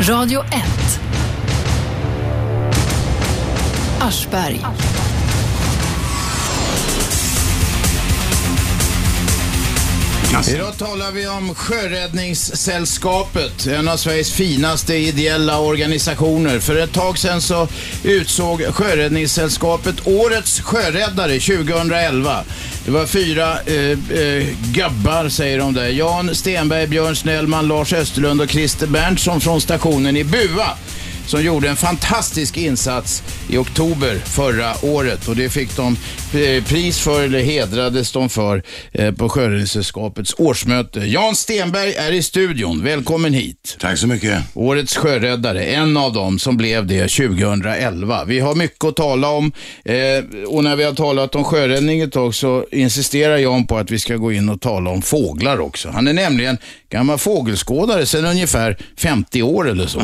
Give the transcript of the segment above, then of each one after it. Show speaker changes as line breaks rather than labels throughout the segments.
Radio 1. Aschberg.
Idag talar vi om Sjöräddningssällskapet, en av Sveriges finaste ideella organisationer. För ett tag sedan så utsåg Sjöräddningssällskapet Årets Sjöräddare 2011. Det var fyra eh, eh, gubbar, säger de där. Jan Stenberg, Björn Snellman, Lars Österlund och Christer Berntsson från stationen i Bua som gjorde en fantastisk insats i oktober förra året och det fick de eh, pris för, eller hedrades de för, eh, på Sjöräddningssällskapets årsmöte. Jan Stenberg är i studion. Välkommen hit.
Tack så mycket.
Årets sjöräddare, en av dem som blev det 2011. Vi har mycket att tala om eh, och när vi har talat om sjöräddning ett tag så insisterar Jan på att vi ska gå in och tala om fåglar också. Han är nämligen gammal fågelskådare sedan ungefär 50 år eller så.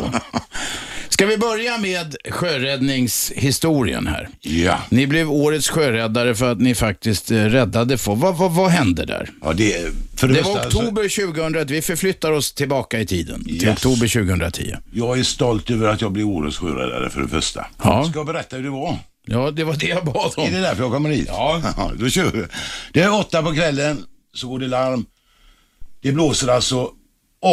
Ska vi börja med sjöräddningshistorien här?
Ja.
Ni blev årets sjöräddare för att ni faktiskt eh, räddade få. Vad, vad, vad hände där?
ja det, för det
Det
första,
var
alltså,
oktober 2001, vi förflyttar oss tillbaka i tiden. Till
Yes.
oktober 2010.
jag är stolt över att jag blev årets sjöräddare för det första.
Ja.
Ska jag berätta hur det var?
Ja, det var det jag bad
Är det
om.
därför jag kommer hit? Ja. Då kör vi. Det är åtta på kvällen, så går det larm. Det blåser alltså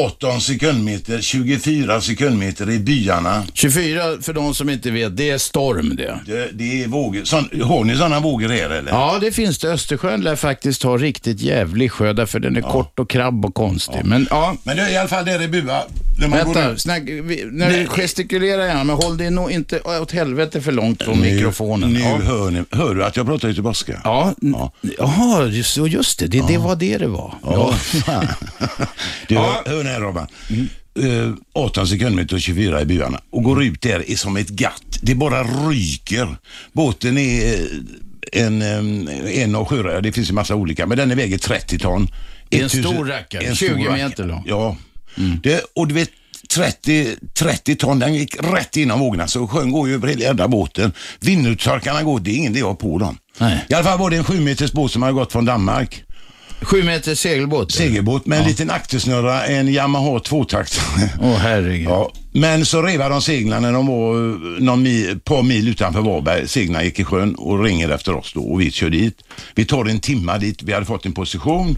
18 sekundmeter, 24 sekundmeter i byarna.
24, för de som inte vet, det är storm det.
Det, det är vågor. Sån, har ni sådana vågor här eller?
Ja, det finns det. Östersjön lär faktiskt ha riktigt jävlig sjö, därför den är kort och krabb och konstig. Men ja,
Men det är i alla fall där i Bua. När man går
vänta.
ut.
Snack, vi, när du gestikulerar gärna, men håll dig nog inte åt helvete för långt från mikrofonen.
Nu
ja.
hör ni. Hör du att jag pratar göteborgska?
Ja, n-
Ja.
jaha, just, så just det. Det, det var det det var.
Ja, fan. Du,
Ja. Mm.
hör ni här Robban. Eh, 18 sekundmeter och 24 i byarna och går ut där är som ett gatt. Det bara ryker. Båten är eh, en, eh, en av sjöräddare, det finns en massa olika, men den är väger 30 ton.
Det är en
1000
stor rackare, 20
rackare.
meter lång.
Ja.
Mm.
Det, och du vet, 30, 30 ton, den gick rätt inom vågorna så sjön går ju över hela jävla båten. Vinduttorkarna går, det är ingen idé att ha på dem.
Nej.
I alla fall var det en 7 meters båt som hade gått från Danmark.
Sju meter segelbåt.
Segelbåt med en liten aktersnurra, en Yamaha tvåtaktare.
Åh, herregud.
Ja, men så revade de seglarna när de var eh, någon mil, par mil utanför Varberg. Seglarna gick i sjön och ringer efter oss då och vi kör dit. Vi tar en timma dit, vi hade fått en position.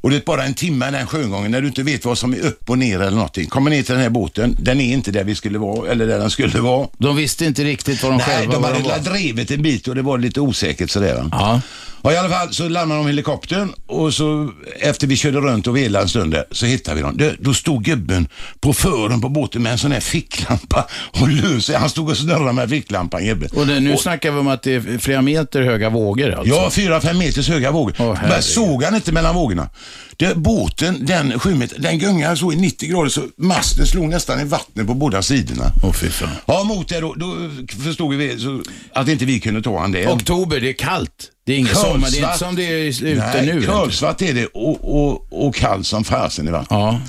Och det är bara en timme den sjögången när du inte vet vad som är upp och ner eller någonting. Kommer ner till den här båten, den är inte där vi skulle vara eller där den skulle vara.
De visste inte riktigt vad de
Nej,
själva
de
var
hade
de var.
väl drivit en bit och det var lite osäkert sådär.
Ja.
Ja, i alla fall så larmade de helikoptern och så efter vi körde runt och velade en stund där, så hittade vi dem. Då, då stod gubben på fören på båten med en sån här ficklampa och lös. Han stod och snurrade med ficklampan gubben.
Och det, nu snackar vi om att det är flera meter höga vågor alltså.
Ja, fyra, fem meters höga vågor.
Åh,
Men
herregud.
såg han inte mellan vågorna. Det, båten, den sju meter, den gungade så i 90 grader så masten slog nästan i vattnet på båda sidorna.
Åh, fy fan.
Ja, mot det då, då förstod vi så, att inte vi kunde ta han det.
Oktober, det är kallt. Det är ingen
Kolsvart.
sommar. Det är inte som det är ute
Nej,
nu.
kolsvart är det och, och, och kallt som fasen i vattnet.
Ja.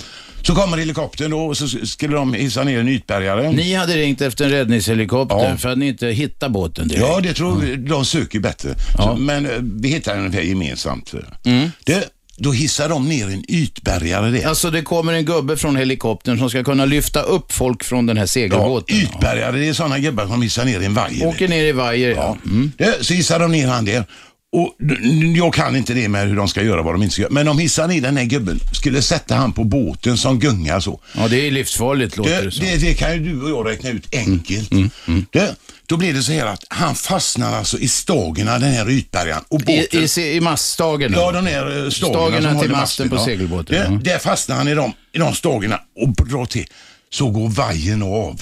Så kommer helikoptern då och så skulle de hissa ner en ytbärgare.
Ni hade ringt efter en räddningshelikopter
Ja.
för att ni inte hittade båten direkt.
Ja, det tror vi. De söker bättre. Så, men eh, vi hittar den ungefär gemensamt. eh,
Mm.
Det, då hissar de ner en ytbärgare där.
Alltså det kommer en gubbe från helikoptern som ska kunna lyfta upp folk från den här
Ja,
segelbåten.
ytbärgare, det är sådana gubbar som hissar ner en vajer.
Åker ner i vajer. Mm.
Ja. Det, så hissar de ner han där. Och n- n- jag kan inte det med hur de ska göra, vad de inte ska göra. Men de hissar ner den här gubben, skulle sätta han på båten som gungar så.
ja, det är livsfarligt låter det,
Det,
som.
det, det kan ju du och jag räkna ut enkelt.
Mm,
Det, då blir det så här att han fastnar alltså i stagen av den här ytbärgaren och båten.
I, i, se- I maststagen?
ja, de där eh, stagerna
Stagerna
som
till
håller
masten på
ja.
segelbåten, Mm.
Det,
ja.
Där fastnar han i de, i de stagerna och drar till. Så går vajern av.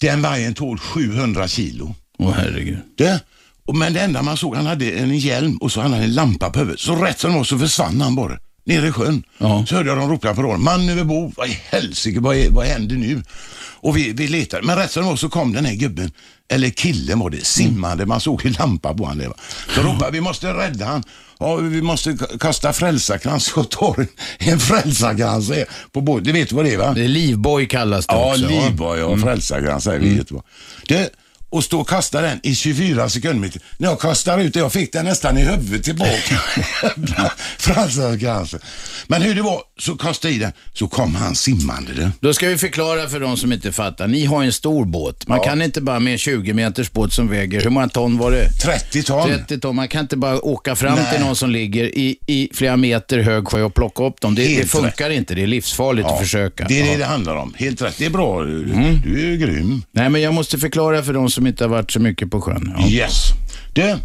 Den vajern tål 700 kilo.
Åh herregud.
Det, och, men det enda man såg, han hade en hjälm och så hade han en lampa på huvudet. Så rätt som det var så försvann han bara. Nere i sjön.
Ja.
Så hörde jag dem ropa på radion. Man över bord, vad i helsike, vad, är- vad händer nu? Och vi, vi letade, men rätt som det var så kom den här gubben, eller killen var det, simmande, man såg ju lampa på honom. Så ropade vi måste rädda han. Ja, vi måste k- kasta frälsarkrans och tar en, en frälsarkrans här på båten. Du vet vad det är va?
Det är livboj kallas det
Ja,
också. Mm.
livboj och frälsarkrans säger vi i Göteborg. Det, och stå och kasta den i 24 sekundmeter. När jag kastade ut den, jag fick den nästan i huvudet tillbaka. Franskansen. Men hur det var, så kastade jag i den, så kom han simmande. Du.
Då ska vi förklara för de som inte fattar. Ni har en stor båt. Man
Ja.
kan inte bara med en 20 meters båt som väger, hur många ton var det?
30 ton.
30 ton. Man kan inte bara åka fram
Nej.
till någon som ligger i, i flera meter hög sjö och plocka upp dem. Det, det
Helt
funkar inte. Det är livsfarligt att försöka.
Det är det
Ja. Mm.
det handlar om. Helt rätt. Det är bra. Du är ju grym.
Nej, men jag måste förklara för de som inte har varit så mycket på sjön. Ja.
Yes. Du,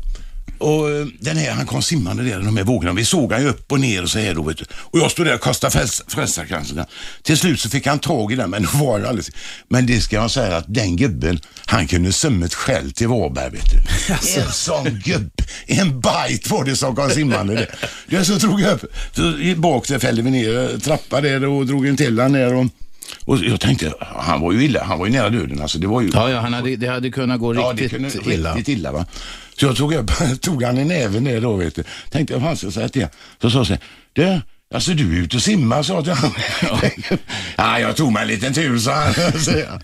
och eh, den här, han kom simmande där i de här vågorna. Vi såg han ju upp och ner och så här då, vet du. Och jag stod där och kastade fräs- frälsarkransen. Till slut så fick han tag i den, men då var det alldeles... Men det ska jag säga att den gubben, han kunde simmet själv till Varberg, vet du.
Alltså.
En sån gubb, en bajt var det som kom simmande där. Du, så drog jag upp, så i- bak där fällde vi ner trappan där och drog en till han där och... Och jag tänkte, han var ju illa, han var ju nära döden alltså. Det var ju
Ja, ja, han hade, det hade kunnat gå riktigt
ja, det kunde,
illa.
Riktigt illa va? Så jag tog, upp, tog han i näven där då vet du. Tänkte jag fan ska jag säga till honom. Så sa jag så här, du, alltså du är ute och simmar sa jag till honom. ja, jag tog mig en liten tur sa han. Så jag.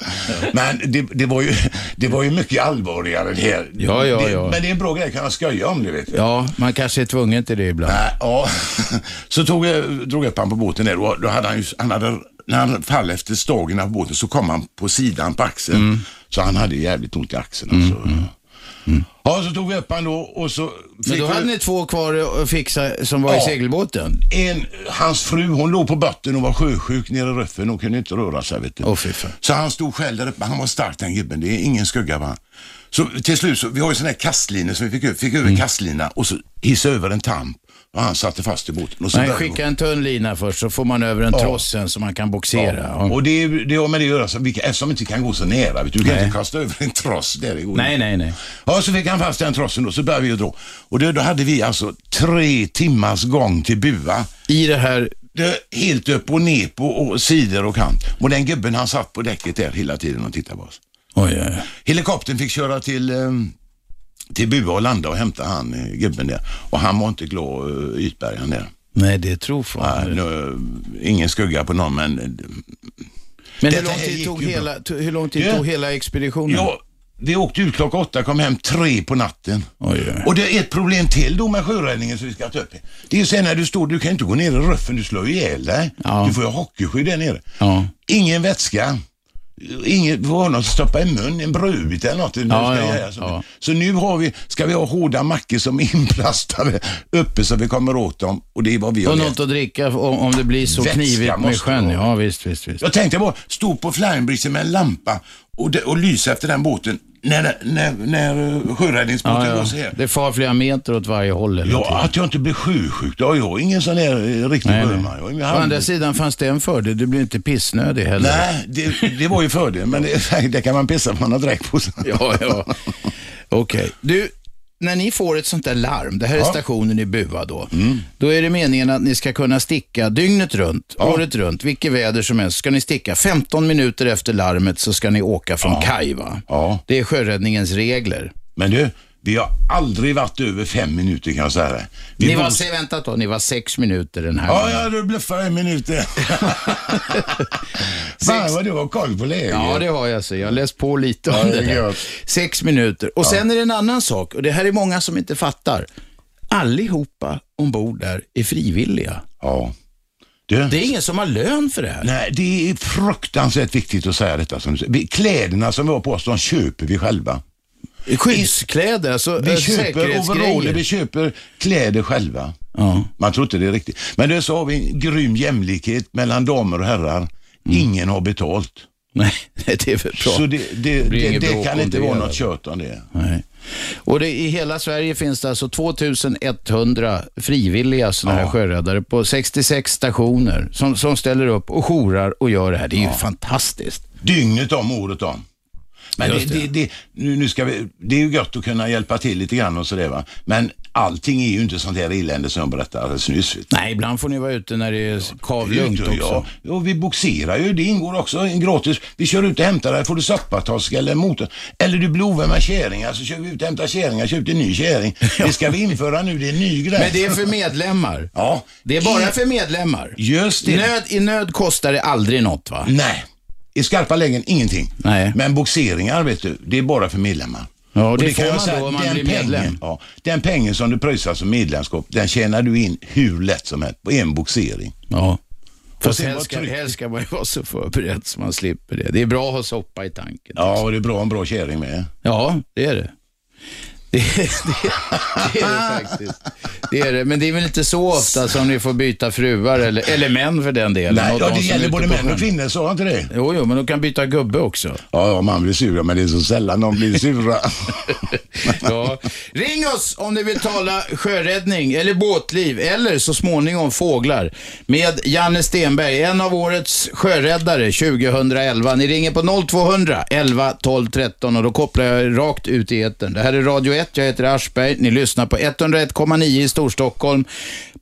Men det, det, var ju, det var ju mycket allvarligare det här.
Ja, ja,
det,
ja.
Men det är en bra grej, kan man skoja om det vet du.
Ja, man kanske är tvungen till det ibland.
Nej, ja. Så tog jag, drog jag upp han på båten där och då hade han ju, han hade, när han fall efter stagen av båten så kom han på sidan på axeln.
Mm.
Så han hade jävligt ont i axeln alltså. Ja, så tog vi upp han då och så
Mm. Men
fick
då
vi-
hade ni två kvar att fixa som var i
Ja.
segelbåten.
en, hans fru hon låg på botten och var sjösjuk nere i röffen och kunde inte röra sig. Vet du.
Åh, fy fan.
så han stod själv där uppe. Han var stark den gubben. Det är ingen skugga va. Så till slut, så, vi har ju sån här kastlinor som vi fick, ö- fick
Mm.
över kastlina och så hissade över en tamp och han satte fast i båten. Och så
Nej,
började-
skicka en tunn lina först så får man över en tross sen så man kan boxera. Ja.
Och det, det har med det att göra, så vi, kan- eftersom vi inte kan gå så nära. Vet du, du kan
Nej.
inte kasta över en tross där. Det går
Nej,
inte.
nej, nej.
Ja, så fick han fast den trossen då, så började vi att dra. Och då, då hade vi alltså tre timmars gång till bua.
I det här,
Det, helt upp och ner på och sidor och kant. Och den gubben han satt på däcket där hela tiden och tittade på oss.
oj, oj, oj.
Helikoptern fick köra till, eh, till bua och landa och hämta han eh, gubben där. Och han var inte glad, eh, ytbergaren där.
nej det tror fan.
Nej, nu, ingen skugga på någon men eh,
Men hur
Detta
lång
här
tid
gick
tog
ju bra.
hela, to, hur lång tid
Ja.
tog hela expeditionen?
Ja, vi åkte ut klockan åtta, kom hem tre på natten.
Oj, oj.
Och det är ett problem till då med sjöräddningen som vi ska ta upp. Det är ju sen när du står, du kan inte gå ner i röffen, du slår ju ihjäl dig.
Ja.
Du får ju ha hockeyskydd där nere.
Ja.
Ingen vätska. Ingen, du får ha något att stoppa i mun, en brödbit eller något. Du
Ja,
ska
ja,
göra så.
ja.
så nu har vi, ska vi ha hårda mackor som är inplastade uppe så vi kommer åt dem och det är vad vi har
Och
lärt.
något att dricka om, om det blir så
Vätska
knivigt med
måste
sjön.
det vara.
Ja, visst, visst, visst.
Jag tänkte bara stå på flyingbridgen med en lampa och, de, och lysa efter den båten när, när, när eh, sjöräddningsbåten
Ja, ja.
går så här.
Det far flera meter åt varje håll hela
Ja,
tiden.
att jag inte blir sjösjuk, det har jag ingen sån här eh, riktig
Nej, nej.
sjöman. Jag är med
Å
hand-
andra sidan fanns det en fördel, du blir inte pissnödig heller.
Nej, det, det var ju fördel, men det, det kan man pissa på man har dräkt på sig.
Ja, ja. Okej. Du, när ni får ett sånt där larm, det här är
Ja. Mm.
stationen i Bua då. Då är det meningen att ni ska kunna sticka dygnet runt, året runt, vilket väder som helst. Ska ni sticka 15 minuter efter larmet så ska ni åka från kaj va?
Ja.
Det är sjöräddningens regler.
Men du, vi har aldrig varit över fem minuter kan jag säga det. Vi
Ni var,
bor-
se, vänta då, ni var sex minuter den här
Ja,
gången.
ja, du bluffar en minut. Fan vad du har koll på läget.
Ja, det har jag. Så jag har läst på lite om
Ja, det
det
är
där.
gött.
Sex minuter. Och sen är det en annan sak, och det här är många som inte fattar. Allihopa ombord där är frivilliga.
ja. Du.
Det är ingen som har lön för det här.
Nej, det är fruktansvärt viktigt att säga detta. Som du säger. Vi- Kläderna som vi har på oss, de köper vi själva.
Skyddskläder, alltså
Vi
eh,
köper overaller, vi
säkerhetsgrejer. köper...
köper kläder själva.
Ja.
Man tror inte det är riktigt. Men det så har vi en grym jämlikhet mellan damer och herrar. Ingen har betalt.
Mm. Nej, det är väl bra.
Så det, det,
blir
det, det,
inget bråk om
kan inte
det
vara
heller.
något kött om det.
Nej. Och det, i hela Sverige finns det alltså 2100 frivilliga sådana här
Ja.
sjöräddare på 66 stationer som, som ställer upp och jourar och gör det här. Det är ju fantastiskt.
Dygnet om, året om. Men det,
Just det.
det, det, nu, nu ska vi, det är ju gött att kunna hjälpa till lite grann och sådär va. Men allting är ju inte sånt här elände som jag berättade alldeles nyss. vet du.
Nej, ibland får ni vara ute när det är kavlugnt
Ut och-
också.
Ja, och vi boxerar ju, det ingår också en gratis. Vi kör ut och hämtar dig, får du soppatask eller motor. Eller du blir ovän med käringar så kör vi ut och hämtar käringar, köper en ny käring. Det ska vi införa nu, det är en ny grej.
Men det är för medlemmar.
Ja.
Det är bara för medlemmar.
Just det.
Nöd, I nöd kostar det aldrig något va?
Nej. I skarpa lägen, ingenting.
Nej.
Men boxeringar, vet du, det är bara för medlemmar.
Ja, det
kan
får
jag
man då om man
den
blir medlem.
Pengen, ja, den pengen som du pröjsar som medlemskap, den tjänar du in hur lätt som helst på en boxering.
Ja. Fast
sen
helst
var
ska,
tryck-
helst ska man ju vara så förberedd så man slipper det. Det är bra att ha soppa i tanken.
Ja, och det är bra en bra kärring med.
Ja, det är det. Det, det, det
Ah!
är det faktiskt. Det är det. Men det är väl inte så ofta som ni får byta fruar, eller, eller män för den delen.
Nej,
Åt
ja,
de
det
som är
gäller
ute
både
på
män
sjön.
och kvinnor, sa jag inte det?
Jo, jo, men de kan byta gubbe också.
Ja, ja, man blir sur, men det är så sällan de blir sura.
Ja. Ring oss om ni vill tala sjöräddning eller båtliv eller så småningom fåglar med Janne Stenberg, en av årets sjöräddare 2011. Ni ringer på 0200 11 12 13 och då kopplar jag rakt ut i etern. Det här är Radio 1, jag heter Aschberg. Ni lyssnar på 101,9 i Storstockholm.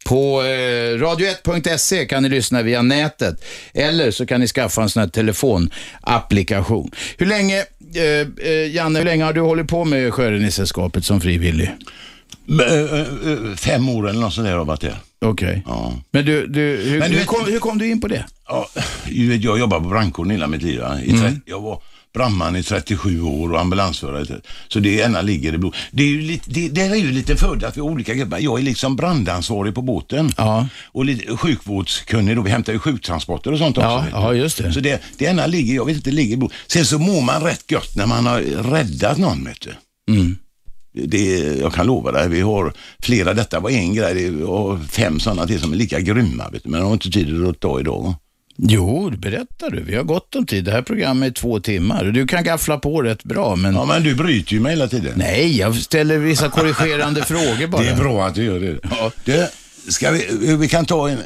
På eh, radio1.se kan ni lyssna via nätet eller så kan ni skaffa en sån här telefonapplikation. Hur länge, eh, eh, Janne, hur länge har du hållit på med Sjöräddningssällskapet som frivillig?
Men, eh, eh, Fem år eller något sånt där har jag varit där.
Okej.
Ja.
Men du, du, hur,
Men du
hur,
vet-
kom, hur kom du in på det?
Ja, ju vet, jag jobbade på brandkåren hela mitt liv. va? I
Mm.
tre, Jag var brandman i 37 år och ambulansförare. till- Så det ena ligger i blod. Det är ju lite, det, det är ju lite fördel att vi har olika grupper. Jag är liksom brandansvarig på båten.
Ja.
Och lite sjukvårdskunnig då. Vi hämtar ju sjuktransporter och sånt också.
Ja,
vet du.
ja, just det.
Så det, det ena ligger, jag vet inte, det ligger i blod. Sen så mår man rätt gött när man har räddat någon, vet du. Det, jag kan lova dig, vi har flera, detta var en grej, det- vi har fem sådana till som är lika grymma, vet du. men de har inte tid att ta idag. va?
Jo, det berättar du. Vi har gott om tid. Det här programmet är två timmar. Du kan gaffla på rätt bra, men
Ja, men du bryter ju mig hela tiden.
nej, jag ställer vissa korrigerande frågor bara.
det är bra att du gör det.
Ja.
Du, ska vi, vi kan ta en...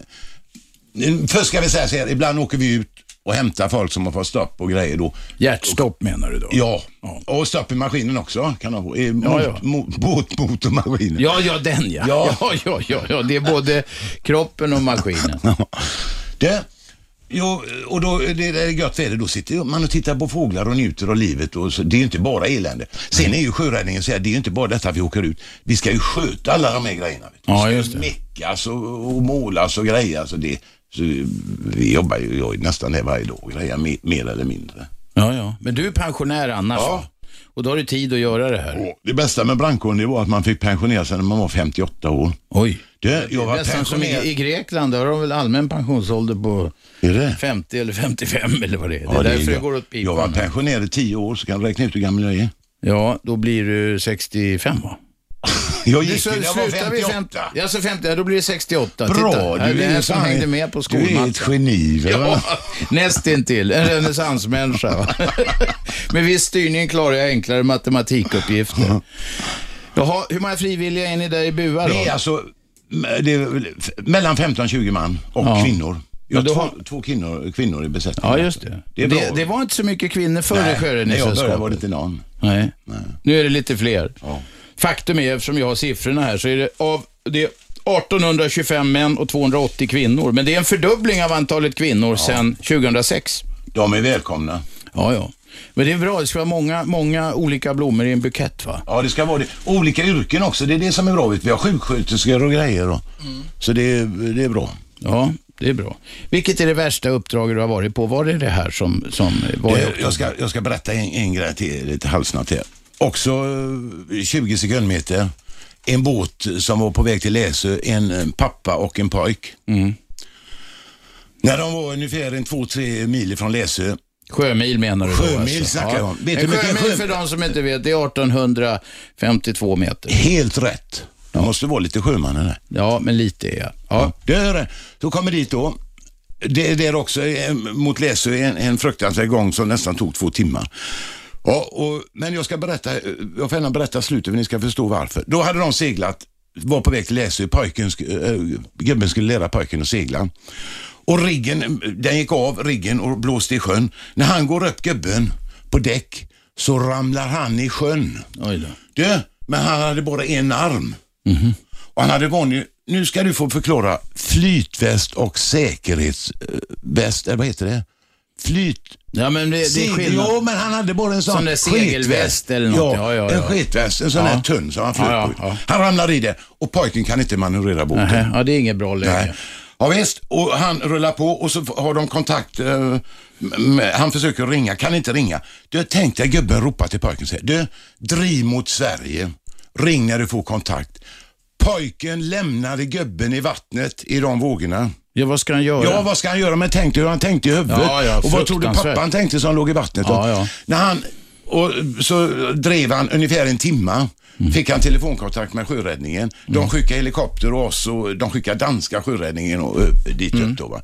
en- Först ska vi säga så här, ibland åker vi ut och hämtar folk som har fått stopp och grejer då.
Hjärtstopp menar du då?
Ja, och stopp i maskinen också kan de få. Eh, Mot,
Ja, ja.
Mot, mot, motormaskinen.
Ja, ja, den ja. Ja,
Ja.
ja, ja, ja, Det är både kroppen och maskinen.
Det, jo, och då det, det är gött väder, då sitter man och tittar på fåglar och njuter av livet. Och så, det är ju inte bara elände. Sen är ju sjöräddningen så här, det är ju inte bara detta vi åker ut. Vi ska ju sköta alla de här grejerna. Vet du.
Ja,
Vi ska
just det.
Meckas och, och målas och grejas och det. Så vi jobbar ju jag är nästan det varje dag, grejer mer, mer eller mindre.
Ja, ja. Men du är pensionär annars
Ja.
va? Och då har du tid att göra det här.
Och det bästa med brandkåren det var att man fick pensionera sig när man var 58 år.
Oj.
Det,
Det
jag
är
var
nästan som i,
pensionerad.
i Grekland, där har de väl allmän pensionsålder på
Är det?
50 eller 55 eller vad det är. Det är
Ja,
därför det
jag-
går åt
Jag var
pipan.
pensionerad i 10 år så kan du räkna ut hur gammal jag är.
Ja, då blir du 65 va?
Jag
Du
gick
så,
ju när jag var
slutar vid
58.
50. Ja, så 50, ja, då blir det 68.
Bra,
Titta, här är
du
det
är
här
ju
som
fan-
hängde med på
Du är ett
skolmatchen.
geni.
Ja,
Ja.
nästintill. En renässansmänniska. va? Med viss styrning klarar jag enklare matematikuppgifter. Jaha, hur många frivilliga är ni där i Bua då?
Det är alltså det är väl f- mellan 15-20 man och
Ja.
kvinnor. Jag
Men du
två,
har-
två kvinnor, kvinnor i besättningen.
Ja, just det.
Det är bra.
det, det var inte så mycket kvinnor förr i
Nej, när jag började var det
Sjöräddningssällskapet.
inte någon.
Nej. Nu är det lite fler.
Ja.
Faktum är, eftersom jag har siffrorna här, så är det av det är 1825 män och 280 kvinnor. Men det är en fördubbling av antalet kvinnor sedan 2006.
De är välkomna.
Ja, ja. Men det är bra, det ska vara många, många olika blommor i en bukett va?
Ja, det ska vara det. Olika yrken också, det är det som är bra. vet du. Vi har sjuksköterskor och grejer. Och.
Mm.
Så det är, det är bra.
Ja, det är bra. Vilket är det värsta uppdraget du har varit på? Var det det här som, som var i
Jag,
uppdrag?
jag, ska, jag ska berätta en, en grej till, lite halvsnabbt här. Också eh, 20 sekundmeter. En båt som var på väg till Läsö, en eh, pappa och en pojk.
Mm.
När de var ungefär en två-tre mil ifrån Läsö.
Sjömil menar du då? alltså?
Sjömil snackar jag om. Vet
En
du hur mycket
sjömil
sjö-
för de som inte vet, det är 1852 meter.
Helt rätt. Det måste vara lite sjöman där.
Ja, men lite är jag. Ja.
Det är det. Så kommer dit då. Det är där också eh, mot Läsö en, en fruktansvärd gång som nästan tog två timmar. Ja, och, men jag ska berätta, eh, jag får gärna berätta slutet för ni ska förstå varför. Då hade de seglat, var på väg till Läsö, pojken, sk- eh, gubben skulle lära pojken att segla. Och riggen, eh, den gick av riggen och blåste i sjön. När han går upp gubben på däck så ramlar han i sjön.
Oj då. Mhm.
Du, men han hade bara en arm. Och han hade vanlig, nu ska du få förklara, flytväst och säkerhetsväst, eller vad heter det? Flyt...
Ja, men det, det är
Segel-
skillnad.
Ja, men han hade bara en sån
Sån där segelväst
skitväst.
eller något. Ja, ja, ja.
en skitväst, en sån
Ja.
här tunn som han flöt
Ja, ja,
på.
ja.
Han ramlade i det och pojken kan inte manövrera båten.
Nähä, ja, det är inget bra läge.
Nej. Ja, visst, och han rullar på och så har de kontakt. Eh, med, han försöker ringa, kan inte ringa. Du, tänk dig gubben ropa till pojken och säga, du, driv mot Sverige. Ring när du får kontakt. Pojken lämnade gubben i vattnet i de vågorna.
Ja, vad ska han göra?
Ja, vad ska han göra? Men tänk dig hur han tänkte i huvudet.
Ja, ja,
och vad trodde
fruktansvärt.
pappan tänkte som låg i vattnet?
Ja,
Och
ja.
När han, och så drev han ungefär en timma.
Mm.
Fick han telefonkontakt med sjöräddningen. De skickade helikopter och oss och de skickade danska sjöräddningen och, ö, dit
Mm.
upp då. Va?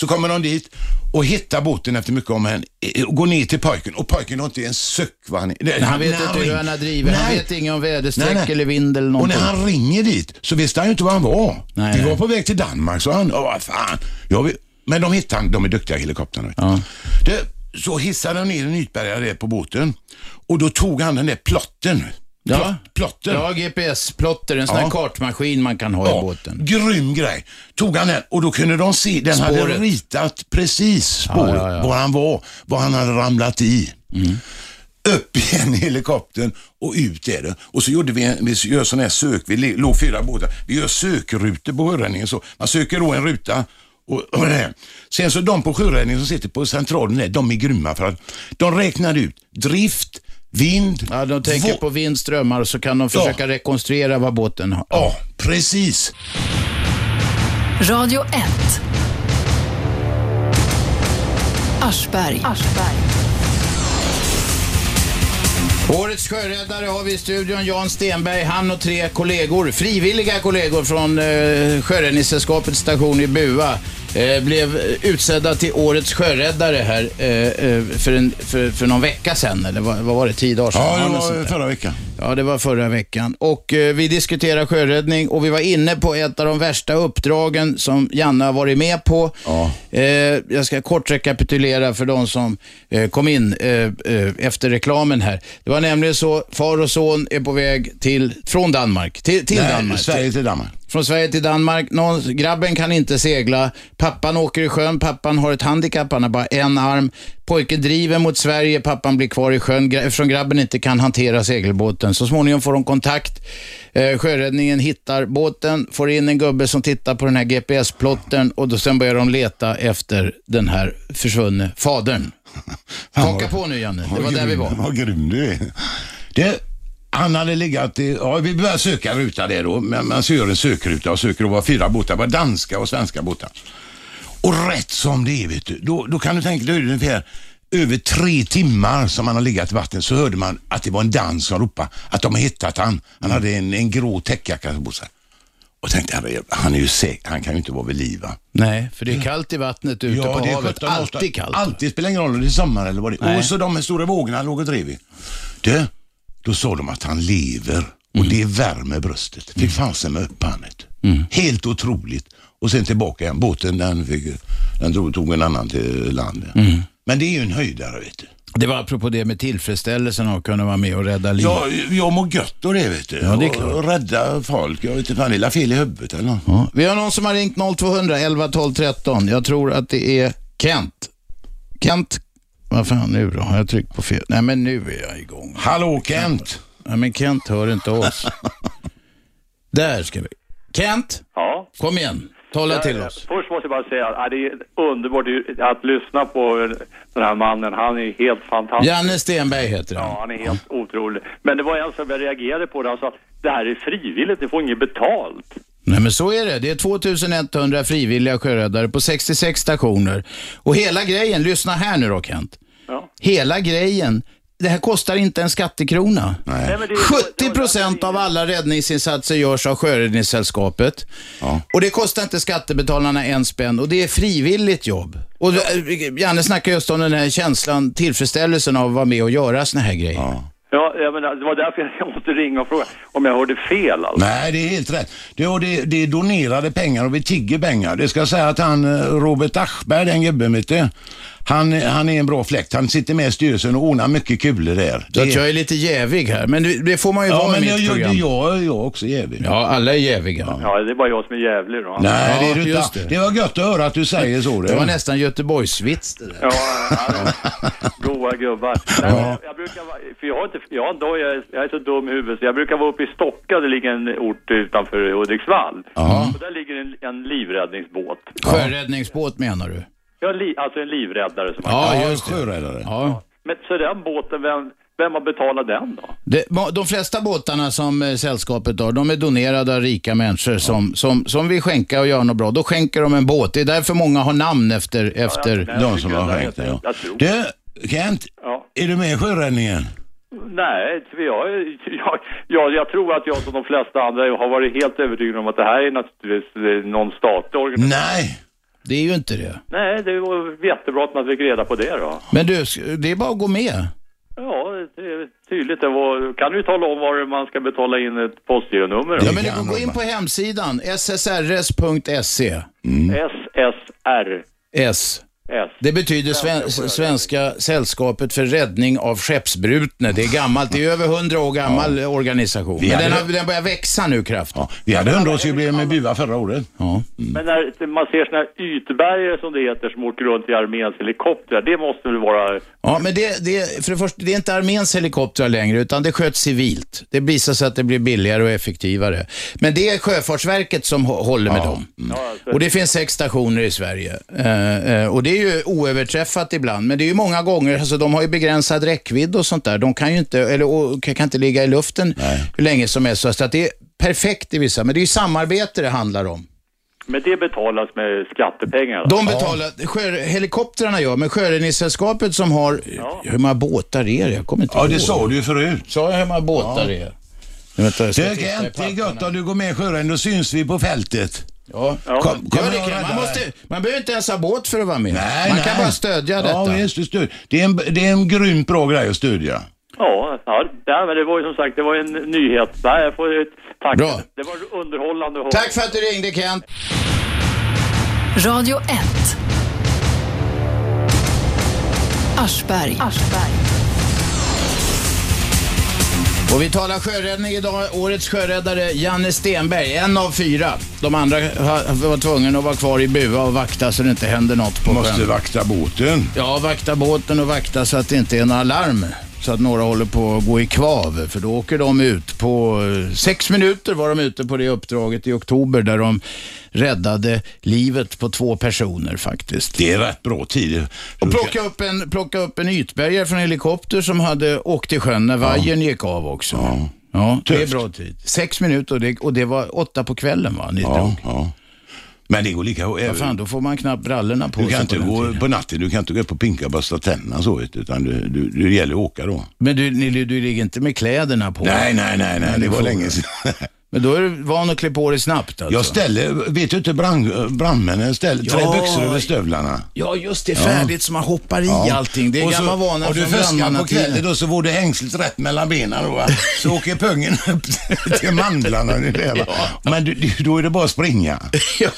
Så kommer de dit och hittar båten efter mycket om henne. eh, Och går ner till pojken och pojken har inte en suck vad han är.
Han vet inte hur han har drivit. Han
Nej.
vet inget om väderstreck
Nej, nej.
eller vind eller
Och
någonting.
när han ringer dit så visste han ju inte var han var.
Nej,
vi
nej.
var på väg till Danmark, sa han. Ja, vad fan. Jag vill... Men de hittade han. De är duktiga helikoptrarna. vet du. Det, så hissade de ner en ytbärgare där på båten och då tog han den där plotten.
Ja.
Plott- Plotten.
Ja, GPS-plotter, en sån här
Ja.
kartmaskin man kan ha i båten.
Grym grej. Tog han den och då kunde de se, den hade
Spåret.
ritat precis spåret,
ja, ja. Mm.
var han var, vad han hade ramlat i. Upp igen i helikoptern och ut är det. Och så gjorde vi, en, vi gör sån här sök, vi le- låg fyra båtar, vi gör sökrutor på sjöräddningen. Så man söker då en ruta och, och det här. Sen så de på sjöräddningen som sitter på centralen där, de är grymma för att de räknar ut drift, vind,
Ja, de tänker
vå-
på vindströmmar och så kan de försöka rekonstruera vad båten har.
Ja, precis.
Radio 1. Aschberg.
Årets sjöräddare har vi i studion Jan Stenberg, han och tre kollegor, frivilliga kollegor från eh, Sjöräddningssällskapets station i Bua, eh, blev eh, utsedda till Årets sjöräddare här eh, eh, för, en, för, för någon vecka sedan, eller vad, vad var det, tio dagar sedan?
Ja, det
något sånt där.
var förra veckan.
Ja, det var förra veckan. Och eh, vi diskuterade sjöräddning och vi var inne på ett av de värsta uppdragen som Janne har varit med på.
Ja.
Eh, jag ska kort rekapitulera för de som eh, kom in eh, eh, efter reklamen här. Det var nämligen så, far och son är på väg till, från Danmark, till, till
Nej,
Danmark.
Sverige till Danmark.
Från Sverige till Danmark. Någon, grabben kan inte segla. Pappan åker i sjön. Pappan har ett handikapp. Han har bara en arm. Pojken driver mot Sverige. Pappan blir kvar i sjön gra- eftersom grabben inte kan hantera segelbåten. Så småningom får de kontakt. Eh, sjöräddningen hittar båten, får in en gubbe som tittar på den här GPS-plotten och då sen börjar de leta efter den här försvunne fadern. Haka på nu Janne, det var
Vad
där vi
grym-
var.
Vad grym du är. Det, han hade legat i, ja vi började söka en ruta där då, men man gör en sökruta och söker och var fyra båtar, var danska och svenska båtar. Och rätt som det är vet du, då, då kan du tänka dig ungefär över tre timmar som han har legat i vattnet så hörde man att det var en dans som ropade att de har hittat han. Han hade en, en grå täckjacka på sig. Och tänkte, herre, han är ju säker, han kan ju inte vara vid liv va?
Nej, för det är kallt i vattnet ute på
är
havet.
17, 18.
Alltid kallt.
Alltid, spelar ingen roll om det är sommar eller vad det är.
Nej.
Och så de här stora vågorna låg och drev i. Du, då sa de att han lever och
Mm.
det värmer bröstet. Fick fasen med upp han, vet du. Helt otroligt. Och sen tillbaka igen. Båten den, fick, den drog, tog en annan till land.
Mm.
Men det är ju en höjdare vet du.
Det var apropå det med tillfredsställelsen av att kunna vara med och rädda liv.
Jag, jag mår gött och det vet du.
Ja, det är
Och-
klart.
Och rädda folk. Jag vet inte, fan det är la fel i huvudet eller något.
Ja. Vi har någon som har ringt 0200 11 12 13. Jag tror att det är Kent. Kent, vad fan nu då? Har jag tryckt på fel? Nej, men nu är jag igång.
Hallå Kent!
Nej, men Kent hör inte oss. Där ska vi. Kent,
Ja.
kom igen. Tala till oss.
Först måste jag bara säga att det är underbart att lyssna på den här mannen. Han är helt fantastisk.
Janne Stenberg heter han.
Ja, han är helt otrolig. Men det var en som jag reagerade på det. Han sa att det här är frivilligt, ni får inget betalt.
Nej men så är det. Det är 2100 frivilliga sjöräddare på 66 stationer. Och hela grejen, lyssna här nu då Kent.
Ja.
Hela grejen, det här kostar inte en skattekrona.
Nej, men det är-
70 procent av alla räddningsinsatser görs av Sjöräddningssällskapet. Och det kostar inte skattebetalarna en spänn och det är frivilligt jobb. Och eh, Janne snackar just om den här känslan, tillfredsställelsen av att vara med och göra såna här grejer.
Ja, jag menar, det var därför jag måste ringa och fråga om jag hörde fel alltså.
Nej, det är helt rätt. Det, och det, det är donerade pengar och vi tigger pengar. Det ska jag säga att han eh, Robert Aschberg, den gubben vet du, Han, han är en bra fläkt. Han sitter med i styrelsen och ordnar mycket kulor där.
Så att jag är lite jävig här, men det, det får man ju
Ja,
vara i
men jag,
mitt
jag,
program.
jag, jag är också jävig.
Ja, alla är jäviga.
Ja, det är bara jag som är jävlig då.
Nej, det är du
Ja,
inte.
just
Det.
det.
var gött att höra att du säger så.
Det var
Det.
nästan Göteborgsvits det där.
Ja, ja, goa gubbar. Nej, men jag, brukar, vara- för jag, har inte, jag, har en dag, jag, är, jag är så dum i huvudet så jag brukar vara uppe i Stocka, det ligger en ort utanför Hudiksvall. Och där ligger en, en livräddningsbåt.
Sjöräddningsbåt menar du?
Jag, li, alltså en livräddare som man
Ja,
Ja,
just det.
sjöräddare.
Ja.
Men så den båten, vem, vem har betalat den då?
Det, ma- de flesta båtarna som eh, sällskapet har, de är donerade av rika människor som, som, som vill skänka och göra något bra. Då skänker de en båt. Det är därför många har namn efter... efter...
nej.
De som har skänkt det, ja.
Jag tror-
Du, Kent,
Ja.
är du med i sjöräddningen?
Nej, för jag, jag, jag, jag tror att jag som de flesta andra har varit helt övertygad om att det här är naturligtvis eh, någon statlig organisation.
Nej.
Det är ju inte det.
Nej, det var jättebra att man fick reda på det då.
Men du, s- det är bara att gå med.
Ja, det är tydligt. Det var, kan du tala om var man ska betala in ett postgironummer?
Det
Ja, men du
kan
kan gå
de.
in på hemsidan, ssrs.se.
Mm.
Mm.
SSR.
S.
S.
Det betyder sven
Svenska
Svenska Sällskapet för Räddning av Skeppsbrutne. Det är gammalt, det är över hundra år gammal organisation.
Vi
Men
hade-
den, har, den börjar växa nu kraftigt.
Ja, vi hade hundraårsjubileum med Bua förra året.
Ja.
Men när man ser såna här ytbergare som det heter som åker runt i arméns helikoptrar, det måste väl vara...
Ja, men det, det, för det första, det är inte arméns helikoptrar längre, utan det sköts civilt. Det visar sig att det blir billigare och effektivare. Men det är Sjöfartsverket som hå- håller med dem.
alltså.
Och det finns sex stationer i Sverige. Eh, eh, och det är ju oöverträffat ibland, men det är ju många gånger, alltså de har ju begränsad räckvidd och sånt där. De kan ju inte, eller och, kan inte ligga i luften hur länge som helst. Så att det är perfekt i vissa, men det är ju samarbete det handlar om.
Men det betalas med skattepengar.
De betalar, sjö, helikoptrarna gör, men Sjöräddningssällskapet som har, hur många båtar är det? Jag kommer inte
Ja,
ihåg.
det sa du ju förut.
Sa jag hur många båtar det är? Nu vänta, jag ska
Du
titta i
Kent, det är
papperna.
gött om du går med i sjöräddningen. Då syns vi på fältet.
Ja.
Kom, kom
Gör det,
och
Kent.
rädda
man, måste,
dig.
man behöver inte ens ha båt för att vara med.
Nej,
man
nej.
kan bara stödja
Ja,
detta.
visst, du stöd. det, är en, det är en grymt bra grej att stödja.
Ja, ja, ja, men det var ju som sagt, det var ju en nyhet. Nej, jag får ju tack.
Bra.
Det var underhållande att höra.
Tack för att du ringde Kent.
Radio 1. Aschberg.
Och vi talar sjöräddning idag. Årets sjöräddare Janne Stenberg, en av fyra. De andra ha- var tvungna att vara kvar i bua och vakta så det inte händer något på
Måste
sjön.
vakta båten.
Ja, vakta båten och vakta så att det inte är några larm. Så att några håller på att gå i kvav, för då åker de ut på... eh, Sex minuter var de ute på det uppdraget i oktober där de räddade livet på två personer faktiskt.
Det är rätt bra tid.
Och plocka upp en, plocka upp en ytbärgare från en helikopter som hade åkt i sjön när vajern gick av också. Ja. det är
Tufft.
bra tid. Sex minuter och det, och det var åtta på kvällen va? Ni
Ja,
drog.
ja. Men det går lika... eh,
Vad fan, då får man knappt brallorna på
Du kan
sig
inte
på den
gå
tiden.
på natten, du kan inte gå upp och pinka och borsta tänderna så, vet du, utan du, du, du gäller att åka då.
Men du, ni, du ligger inte med kläderna på? Alltså.
Nej, nej, nej, nej, det
det
var
får
länge
du.
sedan.
Men då är du van att klä på dig snabbt alltså?
Jag ställer, vet du inte, brand, brandmännen ställer
Ja.
trä byxor över stövlarna.
Ja, just det. Färdigt som man hoppar i allting. Det är
Och så-
gamla vanan
Och du
från
fuskar på
brandmannatiden.
kvällen då så vore det hängslet rätt mellan benen då. va? Så åker pungen upp till mandlarna ungefär. va? Men du, du, då är det bara att springa.
ja,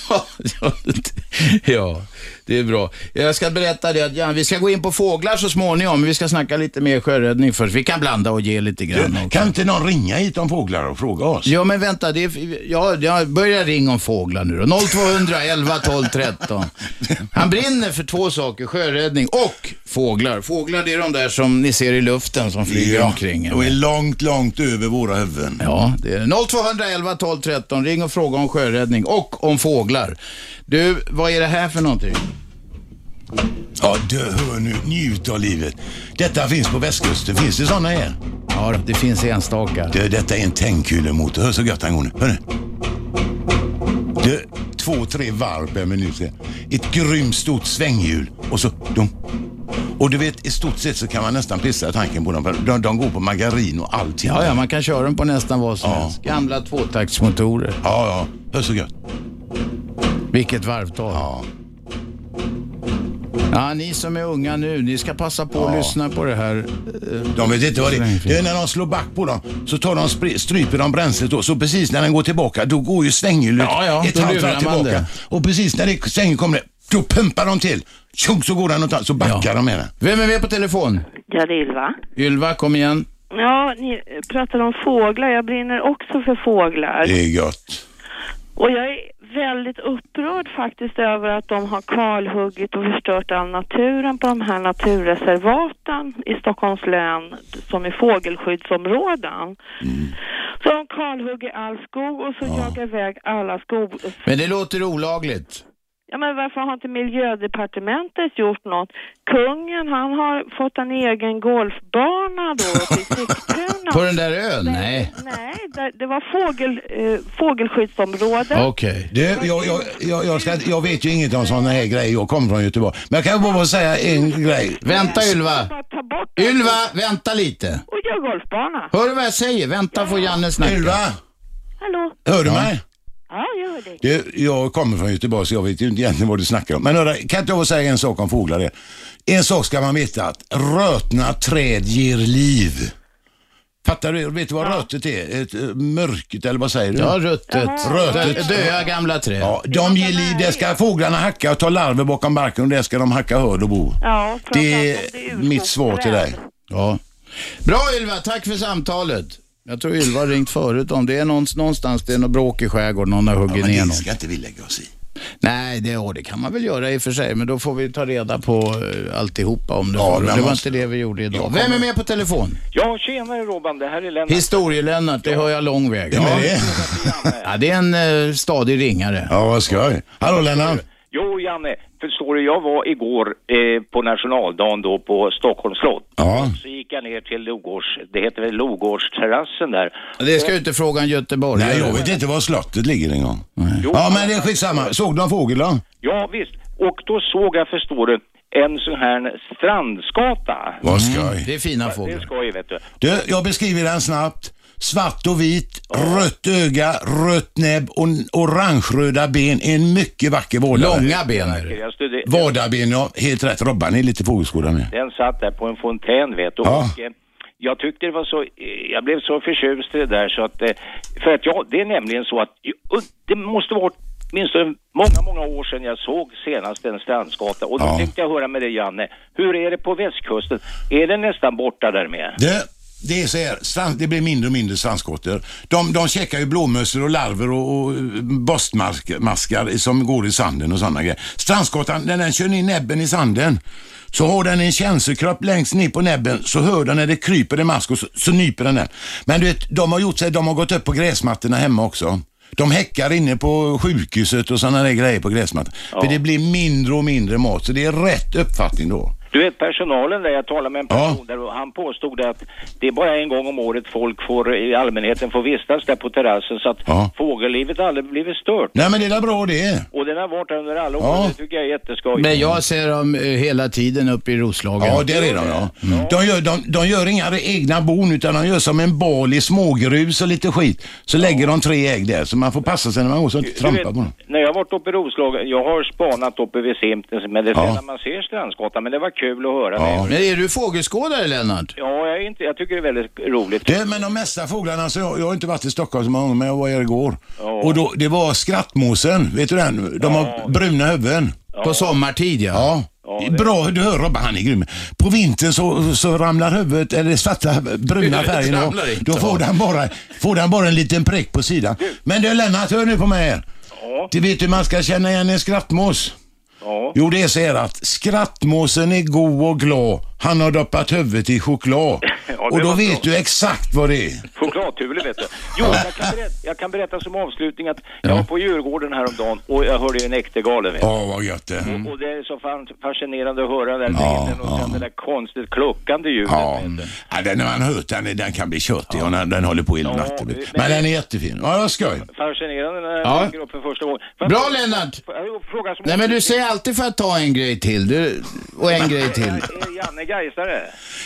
ja, det- ja, det är bra. Jag ska berätta det att ja, vi ska gå in på fåglar så småningom, men vi ska snacka lite mer sjöräddning först. Vi kan blanda och ge lite grann också.
Kan inte någon ringa hit om fåglar och fråga oss?
Ja, men vänta. Det är, ja, jag börjar ringa om fåglar nu då. 0200 11 12 13. Han brinner för två saker, sjöräddning och fåglar. Fåglar, det är de där som ni ser i luften som flyger omkring.
och är långt, långt över våra huvuden.
Ja, det är det. 0211 12 13. Ring och fråga om sjöräddning och om fåglar. Du, vad är det här för någonting?
Ja, du hör nu, njut av livet. Detta finns på västkusten, finns det sådana här?
Ja, det finns enstaka.
Du, detta är en tändkulemotor, hör så gött han går nu. Hör nu. Du, två, tre varv per minut. Ett grymt stort svänghjul och så dum. Och du vet, i stort sett så kan man nästan pissa tanken på dem. för De, de går på margarin och allting.
Ja, ja, man kan köra den på nästan vad som
Ja.
helst. Gamla tvåtaktsmotorer.
ja, ja. Hör så gött.
Vilket varvtal.
Ja.
Ja, ni som är unga nu, ni ska passa på att
Ja.
lyssna på det här.
De vet inte vad det är. Det är när de slår back på dem så tar de spri- stryper de bränslet då. Så precis när den går tillbaka då går ju svänghjulet
Ja, ja,
ett
då
halvt
lurar
varv
man
tillbaka.
det.
Och precis när det svänghjulet kommer det Då pumpar de till. Tjong så går den åt så backar de med den.
Vem är med på telefon?
Ja, det är Ylva.
Ylva, kom igen.
Ja, ni pratar om fåglar. Jag brinner också för fåglar.
Det är gött.
Och jag är väldigt upprörd faktiskt över att de har kalhuggit och förstört all naturen på de här naturreservaten i Stockholms län som är fågelskyddsområden. Så de kalhugger all skog och så jagar iväg alla skog.
Men det låter olagligt.
Ja, men varför har inte miljödepartementet gjort något? Kungen, han har fått en egen golfbana då uppe i Sigtuna.
På den där ön? Nej.
Nej, där, det var fågel, eh, fågelskyddsområde.
Okej.
Du, jag, jag, jag, jag, ska, jag vet ju inget om sådana här grejer. Jag kommer från Göteborg. Men jag kan bara säga en grej.
Vänta Ylva.
Bara ta bort
Ylva, vänta lite.
och gör golfbana.
Hör du vad jag säger? Vänta får Janne snacka.
Ylva,
Hallå?
hör du mig?
Ja, jag hör dig.
Du, jag kommer från Göteborg så jag vet ju inte egentligen vad du snackar om. Men hörru, kan inte jag få säga en sak om fåglar? det? En sak ska man veta att rötna träd ger liv. Fattar du? Vet du vad rötet är? Ett eh, mörkt eller vad säger du?
Ja, ruttet.
Ruttet.
Döda gamla träd.
Ja, de ger liv. Där ska fåglarna hacka och ta larver bakom barken och där ska de hacka hörd och bo.
Ja, framförallt
Det
om
är
urskogsträd.
mitt svar till dig.
Ja. Bra Ylva, tack för samtalet. Jag tror Ylva har ringt förut om det är någonstans, någonstans det är något bråk i skärgården, någon har huggit ner någon.
inte vi lägga oss i.
Nej, det, ja, det kan man väl göra i och för sig, men då får vi ta reda på eh, alltihopa om det.
Ja,
Ja, det
men
var
måste-
inte det vi gjorde idag. Vem är med på telefon?
Ja, tjenare Robban, det här är Lennart.
Historielennart, det hör jag lång väg.
Ja,
Ja,
det är.
ja, det är en eh, stadig ringare.
ja vad skoj. Hallå Lennart.
Jo, Janne, förstår du, jag var igår eh, på nationaldagen då på Stockholms slott.
Ja.
Så gick jag ner till Logårds, det heter väl Logårdsterrassen där.
Det ska ju inte fråga en göteborgare.
Nej, jag vet inte var slottet ligger en gång. Ja, men det är skitsamma. Såg du någon fågel då?
Ja, visst. Och då såg jag, förstår du, en sån här strandskata.
Vad skoj.
Mm, Det är fina
Det är
fåglar.
skoj, vet du.
Du, jag beskriver den snabbt. Svart och vit, rött öga, rött näbb och orangeröda ben. En mycket vacker vårdare.
Långa ben är det.
Jag studerade,
Vårdarben, ja. Helt rätt. Robban är lite fågelskådare med.
Den satt där på en fontän, vet du.
Ja.
Och, eh, jag tyckte det var så, eh, jag blev så förtjust i det där så att, eh, för att jag, det är nämligen så att, och det måste vara åtminstone många, många år sedan jag såg senast en strandskata och då
Ja.
tänkte jag höra med dig Janne, hur är det på västkusten? Är den nästan borta där med?
Du, det är så här. Strand, det blir mindre och mindre strandskottor. De, de käkar ju blåmössor och larver och, och borstmaskar som går i sanden och sådana grejer. Strandskottan, när den kör ner näbben i sanden så har den en känselkropp längst ner på näbben så hör den när det kryper i mask och så, så nyper den den. Men du vet, de har gjort sig, de har gått upp på gräsmattorna hemma också. De häckar inne på sjukhuset och sådana där grejer på gräsmattan. För det blir mindre och mindre mat, så det är rätt uppfattning då.
Du vet personalen där, jag talade med en
Ja.
person där och han påstod att det är bara en gång om året folk får, i allmänheten får vistas där på terrassen så att
Ja.
fågellivet har aldrig blivit stört.
Nej men det är väl bra det.
Och den har varit där under alla år,
Ja.
det tycker jag är jätteskoj.
Men jag ser dem eh, hela tiden uppe i Roslagen.
Ja, där är de ja.
Mm.
De, gör, de, de gör inga egna bon utan de gör som en bal i smågrus och lite skit. Så lägger de tre ägg där så man får passa sig när man går så att inte
Du vet,
trampa på dem.
När jag har varit uppe i Roslagen, jag har spanat uppe vid Simpnäs, men det är
Ja.
sällan man ser Strandskatan, men det var kul att höra.
Ja.
Ja,
Men är du fågelskådare Lennart?
ja jag, är inte, jag tycker det är väldigt roligt.
Du, men de mesta fåglarna, så jag, jag har inte varit i Stockholm så många gånger men jag var här igår. Och då, det var skrattmåsen, vet du den? De har bruna huvuden.
På sommartid ja.
Ja. Bra, du hör Robban, han är grym. På vintern så, så ramlar huvudet, eller det svarta bruna
Huvudet
färgen av.
ramlar inte
Då får
av.
den, bara, får den bara en liten prick på sidan. Men du Lennart, hör nu på mig här. Du vet hur man ska känna igen en skrattmås?
Ja.
Jo, det är så här att skrattmåsen är god och glad. Han har doppat huvudet i choklad.
det
och då
var
vet
bra.
du exakt vad det är.
Chokladtulor vet du. Jo, jag kan, berätta, jag kan berätta som avslutning att jag var på Djurgården häromdagen och jag hörde ju en äktergalen. vet du.
Ja, vad gött det. Mm.
Och det är så fan fascinerande att höra den där
Ja,
bilden och sen
ja.
det där konstigt kluckande ljudet.
Ja.
vet du.
ja, den när man hört den, den kan bli köttig och den, den håller på hela
Ja,
natten.
men-
Men den är jättefin. Ja, det var skoj.
Fascinerande när
Ja.
jag dyker upp för första gången. Får jag
Bra,
fråga-
Lennart!
får jag Fråga som
Nej men du säger alltid för att ta en grej till. Du, och en grej till.
Är Janne Gaisare?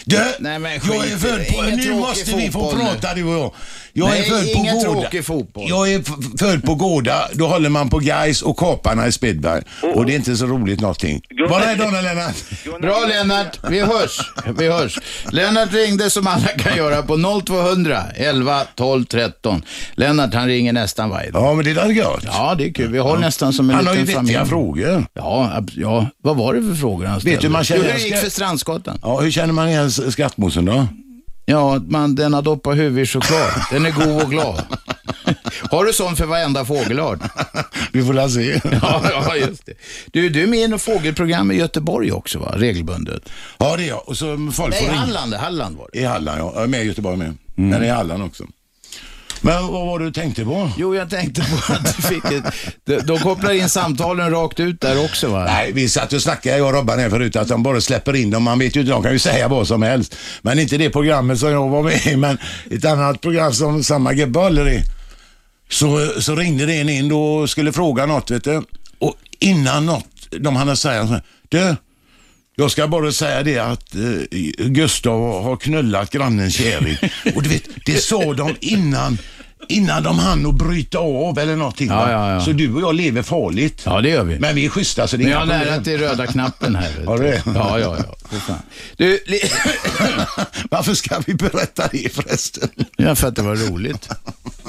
Du,
Nej, men skit
jag
i
är
det.
född på...
Ingen
Nu
tråkig
måste vi få
fotboll nu.
prata du och jag. Jag
Nej,
är född på
ingen
Gårda.
tråkig fotboll.
Jag är f- född på Gårda. Då håller man på Gais och Kaparna i Spedberg.
Mm.
Och det är inte så roligt någonting. Var rädd om dig Lennart.
Bra Lennart, vi hörs. Vi hörs. Lennart ringde som alla kan göra på 0200 11 12 13. Lennart han ringer nästan varje dag.
Ja, men det där är gött.
Ja, det är kul. Vi har nästan som en
Han har ju
liten familj.
vettiga frågor.
Ja, ab- ja, vad var det för frågor han ställde?
du hur man känner
Jo, hur det
en
gick
skatt?
för Strandsgatan?
Ja, hur känner man igen skattmosen då?
Ja, man, den har doppat huvudet i choklad. Den är god och glad. har du sån för varenda fågelart?
Vi får la se.
ja, ja, just det. Du, du är med i något fågelprogram i Göteborg också, va? Regelbundet.
Ja, det är jag. Och så folk
Nej,
får ringa.
Halland, Halland var det. Mm.
I Halland, ja. Jag är med i Göteborg med. Men i Halland också. Men vad var det du tänkte på?
Jo, jag tänkte på att du fick ett... De, de kopplar in samtalen rakt ut där också va?
Nej, vi satt och snackade, jag och Robban här förut, att de bara släpper in dem. Man vet ju inte, de kan ju säga vad som helst. Men inte det programmet som jag var med i, men ett annat program som samma gubbe håller i. Så, så ringde det en in då och skulle fråga något, vet du. Och innan något, de hann säga så här, du, jag ska bara säga det att eh, Gustav har knullat grannens kärring. Och du vet, det sa de innan, innan de hann att bryta av eller någonting. va?
Ja, ja, ja.
Så du och jag lever farligt.
Ja, det gör vi.
Men vi är schyssta så det
Men
är
jag har
inga
nära
problem.
till röda knappen här. vet du.
Har du det?
Ja, ja, ja. För fan. Du, li-
Varför ska vi berätta det förresten?
ja, för att det var roligt.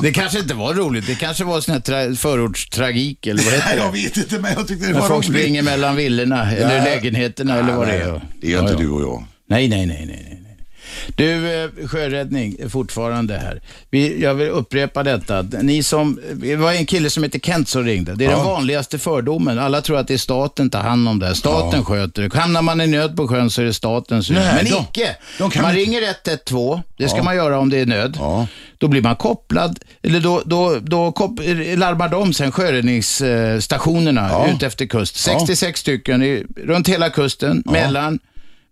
Det kanske inte var roligt. Det kanske var sån här tra- förortstragik eller vad heter
Nej,
det?
jag vet inte men jag tyckte det
När
var
folk
roligt.
springer mellan villorna eller
Nej.
lägenheterna eller vad det är.
Nej, Det gör inte du och jag.
Nej, nej, nej, nej. nej. nej. Du, eh, sjöräddning är fortfarande här. Vi, jag vill upprepa detta. Ni som, det var en kille som heter Kent som ringde. Det är den
Ja.
vanligaste fördomen. Alla tror att det är staten tar hand om det. här. Staten sköter det. Hamnar man i nöd på sjön så är det statens
Nej,
nöd. Men
de-
icke!
de kan
man
inte-
ringer 112. Det ska man göra om det är nöd.
Ja.
Då blir man kopplad, eller då, då, då kop, larmar de sen sjöräddningsstationerna
Ja.
ut efter kust. 66 stycken i, runt hela kusten, mellan,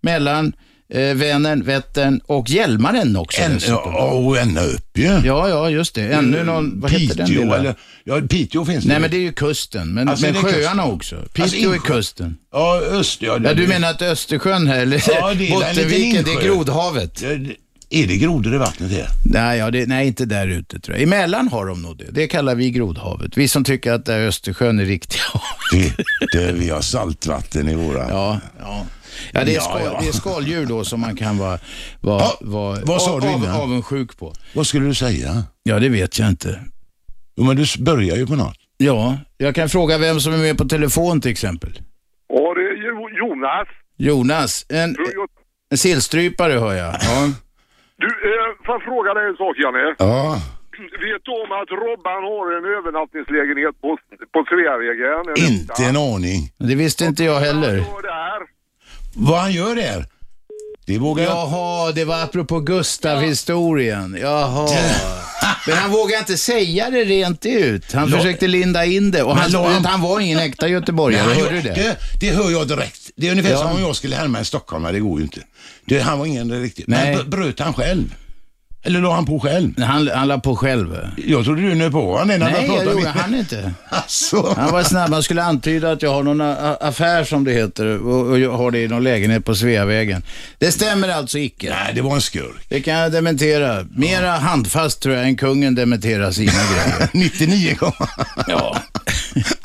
mellan eh, Vänern, Vättern och Hjälmaren också.
En,
dessutom.
ja, och ända upp ju. Mm.
ja, ja, just det. Ännu någon, vad heter den
Piteå
lilla?
eller? Ja, Piteå finns det.
Nej, men det är ju kusten, men,
Alltså,
men
är det
sjöarna
kusten?
också. Piteå
Alltså,
är
insjö-
kusten.
Ja, öst. Ja, det-
Ja, du menar att Östersjön här, eller
Ja, det är en
Bottenviken,
liten
det är
insjö.
grodhavet?
Ja, det- Är det grodor i vattnet här?
Nej, ja, det, nej, inte där ute tror jag. Emellan har de nog det. Det kallar vi grodhavet. Vi som tycker att det här Östersjön är riktiga havet.
Det, det, vi har saltvatten i våra...
Ja, ja. ja, det, är
Ja,
skal,
ja.
det är skaldjur då som man kan vara, vara,
Ja,
vara
vad sa
av,
du innan?
av, avundsjuk på.
Vad skulle du säga?
Ja, det vet jag inte.
Jo, men du s- börjar ju på något.
Ja, jag kan fråga vem som är med på telefon till exempel.
Ja, det är Jo- Jonas.
Jonas, en, en sillstrypare hör jag. Ja.
Du, eh, får jag fråga dig en sak Janne?
Ja.
Vet du om att Robban har en övernattningslägenhet på, på Sveavägen? En
Inte en aning.
Det visste inte jag heller.
etta. Och där.
Vad han gör där? Det vågar jag...
Jaha, det var apropå Gustav-historien. Jaha. Men han vågade inte säga det rent ut. Han
La-
försökte linda in det. Och
Men
han,
la han-
han var ingen äkta göteborgare,
Nej,
hörde du det?
det? Det hör jag direkt. Det är ungefär
Ja.
som om jag skulle härma en stockholmare, det går ju inte. Det, han var ingen riktigt.
Nej.
Men br- bröt han själv? Eller la han på själv?
Han, han la på själv.
Jag trodde du nu på honom innan
Nej,
jag
jag
pratade
gjorde
med
han inte.
Alltså.
Han var snabb. Han skulle antyda att jag har någon a- a- affär som det heter och, och jag har det i någon lägenhet på Sveavägen. Det stämmer alltså icke.
Nej, det var en skurk.
Det kan jag dementera. Mera handfast tror jag än kungen dementerar sina grejer.
99 gånger.
Ja.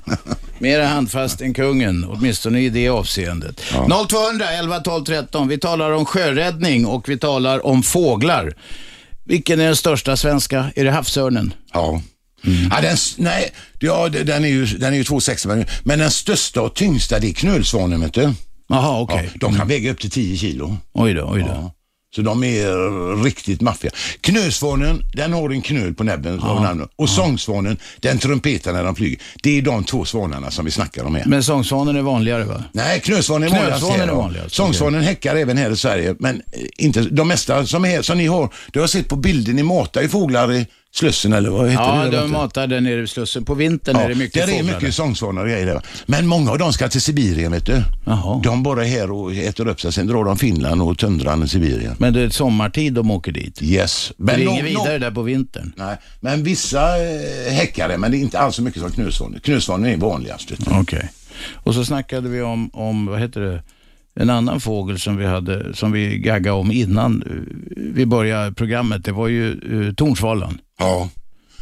Mera handfast än kungen, åtminstone i det avseendet. 0200 11 12 13. Vi talar om sjöräddning och vi talar om fåglar. Vilken är den största svenska? Är det havsörnen?
Ja. Ja, den, s- nej, ja, det- den är ju, den är ju 2,60 men- men den största och tyngsta det är knölsvanen vet du.
Jaha,
Ja,
okej. Mm.
De kan väga upp till 10 kilo.
Oj då, oj då.
Så de är riktigt maffiga. Knölsvanen, den har en knöl på näbben. av namnet. Och sångsvanen, den trumpetar när de flyger. Det är de två svanarna som vi snackar om här.
Men sångsvanen är vanligare va?
Nej, knölsvanen är vanligast.
Knölsvanen
här,
är alltså.
ja.
vanligast,
Sångsvanen häckar även här i Sverige, men eh, inte, de mesta som, är, som ni har, du har sett på bilden, ni matar ju fåglar i Slussen eller vad heter
Ja,
det? där
de
borta?
matar där nere vid Slussen. På vintern är det mycket
där är
fåglar.
mycket sångsvanar och grejer där. va. Men många av dem ska till Sibirien vet du.
Jaha.
De bara är här och äter upp sig, sen drar de Finland och tundran i Sibirien.
Men det är sommartid de åker dit.
Yes.
Men det är
no-
inget
no-
vidare där på vintern.
Nej, men vissa eh, häckar det, men det är inte alls så mycket som knölsvanen. Knölsvanen är vanligast. Vet du.
Okej. Och så snackade vi om, om vad heter det, en annan fågel som vi, hade, som vi gaggade om innan eh, vi började programmet, det var ju eh, tornsvalan.
Ja.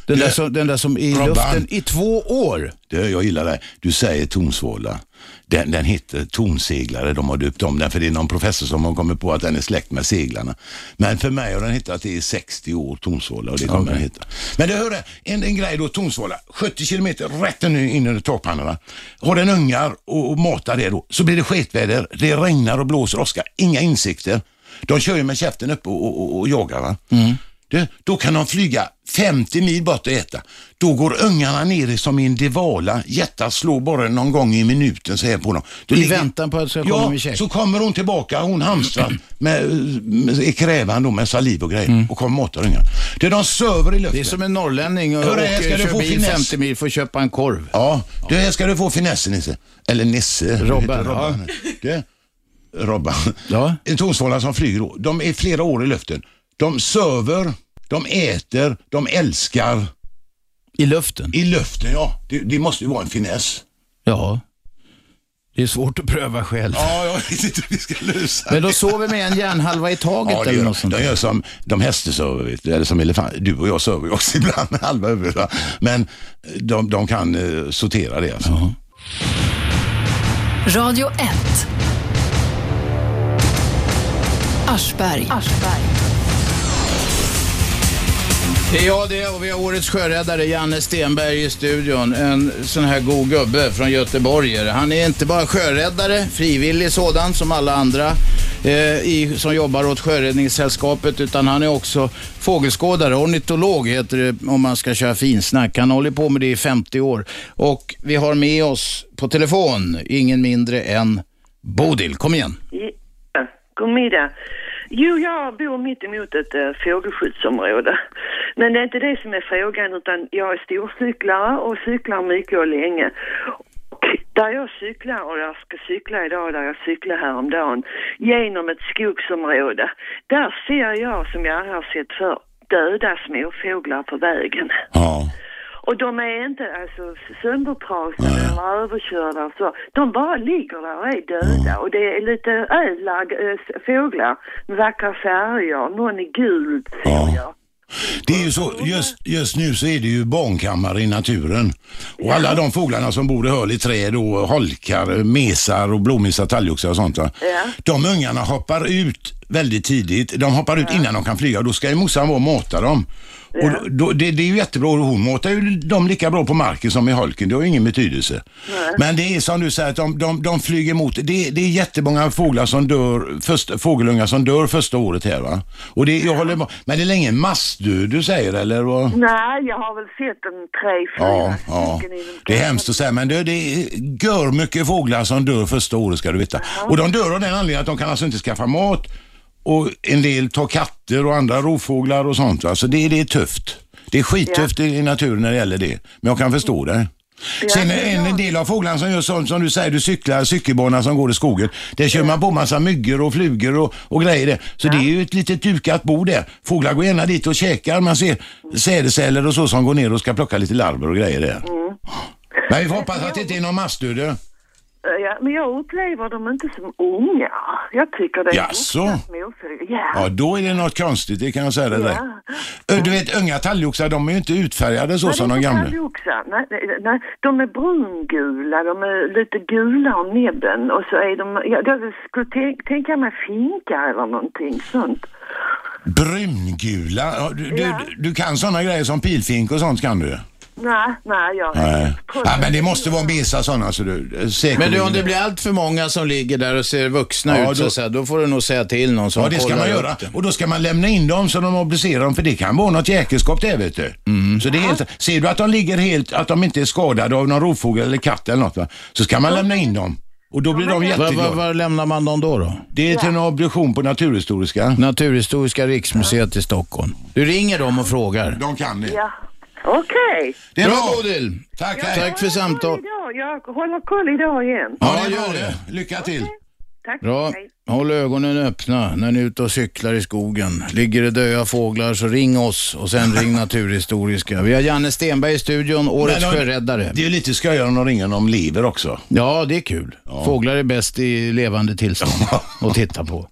Den,
Det-
där som, den där som i
Robban.
luften i två år.
Det, jag gillar det. Du säger tonsvåla. Den, den heter tonseglare, de har döpt om den, för det är någon professor som har kommit på att den är släkt med seglarna. Men för mig har den hittat det i 60 år, tonsvåla, och det kommer den hitta. Men du hörde, en, en grej då, tonsvåla, 70 kilometer rätt in in under takpannorna. Har den ungar och, och matar det då, så blir det sketväder, det regnar och blåser åska, inga insikter. De kör ju med käften uppe och, och, och, och jagar va.
Mm.
Du, då kan de flyga 50 mil bort och äta. Då går ungarna ner i som i en devala. Jättar slår bara någon gång i minuten så här på dem. Då
I väntan på att det ska komma
ja,
med käk.
så kommer hon tillbaka, hon hamstrar med, med, i krävan då med saliv och grejer och kommer matar ungarna. Du, de söver i luften.
Mm. Det är som en norrlänning och,
Hörru,
och
här ska
eh,
du
kör
få
bil
finess.
50 mil för att köpa en korv.
Ja, du, här ska du få finessen Nisse. Eller Nisse.
Robban,
Du heter Robban. Du, Robban.
Ja.
En tonsvåla som flyger då. De är flera år i luften. De söver, de äter, de älskar.
I luften?
I luften, ja. Det, det måste ju vara en finess.
Ja. Det är svårt att pröva själv.
Ja, jag vet inte hur vi ska lösa
Men då sover vi en hjärnhalva i taget
Ja, det
eller
gör,
något
de.
sånt.
de gör som de häster sover, vet du, eller som elefant. Du och jag sover ju också ibland med halva huvudet. va? Men de, de kan eh, sortera det alltså.
Radio 1. Aschberg.
Det är jag det och vi har årets sjöräddare Janne Stenberg i studion. En sån här god gubbe från Göteborg. Han är inte bara sjöräddare, frivillig sådan som alla andra eh, i, som jobbar åt Sjöräddningssällskapet utan han är också fågelskådare, ornitolog heter det om man ska köra finsnack. Han har hållit på med det i 50 år och vi har med oss på telefon ingen mindre än Bodil. Kom igen.
Ja, god middag. Jo, jag bor mitt emot ett äh, fågelskyddsområde. Men det är inte det som är frågan utan jag är storcyklare och cyklar mycket och länge. Och där jag cyklar och jag ska cykla idag och där jag cyklade häromdagen genom ett skogsområde. Där ser jag, som jag aldrig har sett förr, döda småfåglar på vägen.
Ja.
Och de är inte alltså söndertrasade eller överkörda och så. De bara ligger där och är döda. Och det är lite ädla äh, fåglar med vackra färger. Någon är gult ser
Ja.
jag.
Det är ju så, just, just nu så är det ju barnkammare i naturen. Och alla de fåglarna som bor i höl i träd och holkar, mesar och blåmesar, talgoxar och sånt. va?
Ja.
De ungarna hoppar ut väldigt tidigt. De hoppar ut innan de kan flyga och då ska ju morsan vara och mata dem. Och då, då, det, det är ju jättebra och hon matar ju dem lika bra på marken som i holken. Det har ju ingen betydelse. Men det är som du säger, att de, de, de flyger mot. Det, det är jättemånga fåglar som dör, först, fågelungar som dör första året här va. Och det, jag håller med. Men det är länge massdöd du säger eller? Vad?
Nej, jag har väl sett en tre, fyra
Ja, ja.
stycken i den
Det är hemskt att säga, men det, det är gör mycket fåglar som dör första året ska du veta. Och de dör av den anledningen att de kan alltså inte skaffa mat och en del tar katter och andra rovfåglar och sånt. Alltså det, det är tufft. Det är skittufft i i naturen när det gäller det, men jag kan förstå det. Sen en, en del av fåglarna som gör sånt som du säger, du cyklar cykelbana som går i skogen. Där kör man på massa myggor och flugor och, och grejer där. Så det är ju ett litet dukat bo där. Fåglar går gärna dit och käkar. Man ser sädesceller och så som går ner och ska plocka lite larver och grejer där.
Mm.
Men vi får hoppas att det inte är någon massdöd.
Eh, Ja, men jag upplever dem inte som unga. Jag tycker det är
Jaså?
vuxna småfåglar. Ja.
Ja, då är det något konstigt, det kan jag säga dig. Ö, Du vet, unga talgoxar, de är ju inte utfärgade så
Nej,
som
det är
de
inte
gamla.
talgoxar. Nej, nej, nej, de är brungula, de är lite gula om näbben och så är de, jag, jag skulle tänk, tänka mig finkar eller någonting sånt.
Brungula, ja, du,
Ja.
du, du kan sådana grejer som pilfink och sånt kan du?
Nej, nej, jag
Nej.
Trots-
Ja, men det måste vara mesa sådana så du, säkert.
Men du, om det blir allt för många som ligger där och ser vuxna
Ja,
ut, så
då-
att säga, då får du nog säga till någon som
Ja, det ska
kollar
man
upp
göra. Och då ska man lämna in dem så de obducerar dem, för det kan vara något jäkelskap där vet du. Så det är helt, ser du att de ligger helt, att de inte är skadade av någon rovfågel eller katt eller något, va? så ska man lämna in dem. Och då blir de
Var, var,
jätteglada.
var lämnar man dem då? då?
Det är till en obduktion på Naturhistoriska.
Naturhistoriska riksmuseet i Stockholm. Du ringer dem och frågar.
De kan det.
Ja. Okej.
Det är
Bra
bra.
Bodil!
Tack, hej.
Jag
Tack för
håller koll
samtal.
idag. Jag håller koll idag igen.
Ja, det
Ja,
gör
gör
det. Lycka till.
Tack.
Bra.
Hej.
Håll ögonen öppna när ni är ute och cyklar i skogen. Ligger det döda fåglar så ring oss och sen ring Naturhistoriska. Vi har Janne Stenberg i studion, årets
Men de-
sjöräddare.
Det är ju lite skojigare om de ringer om lever också.
Ja, det är kul. Fåglar är bäst i levande tillstånd att titta på.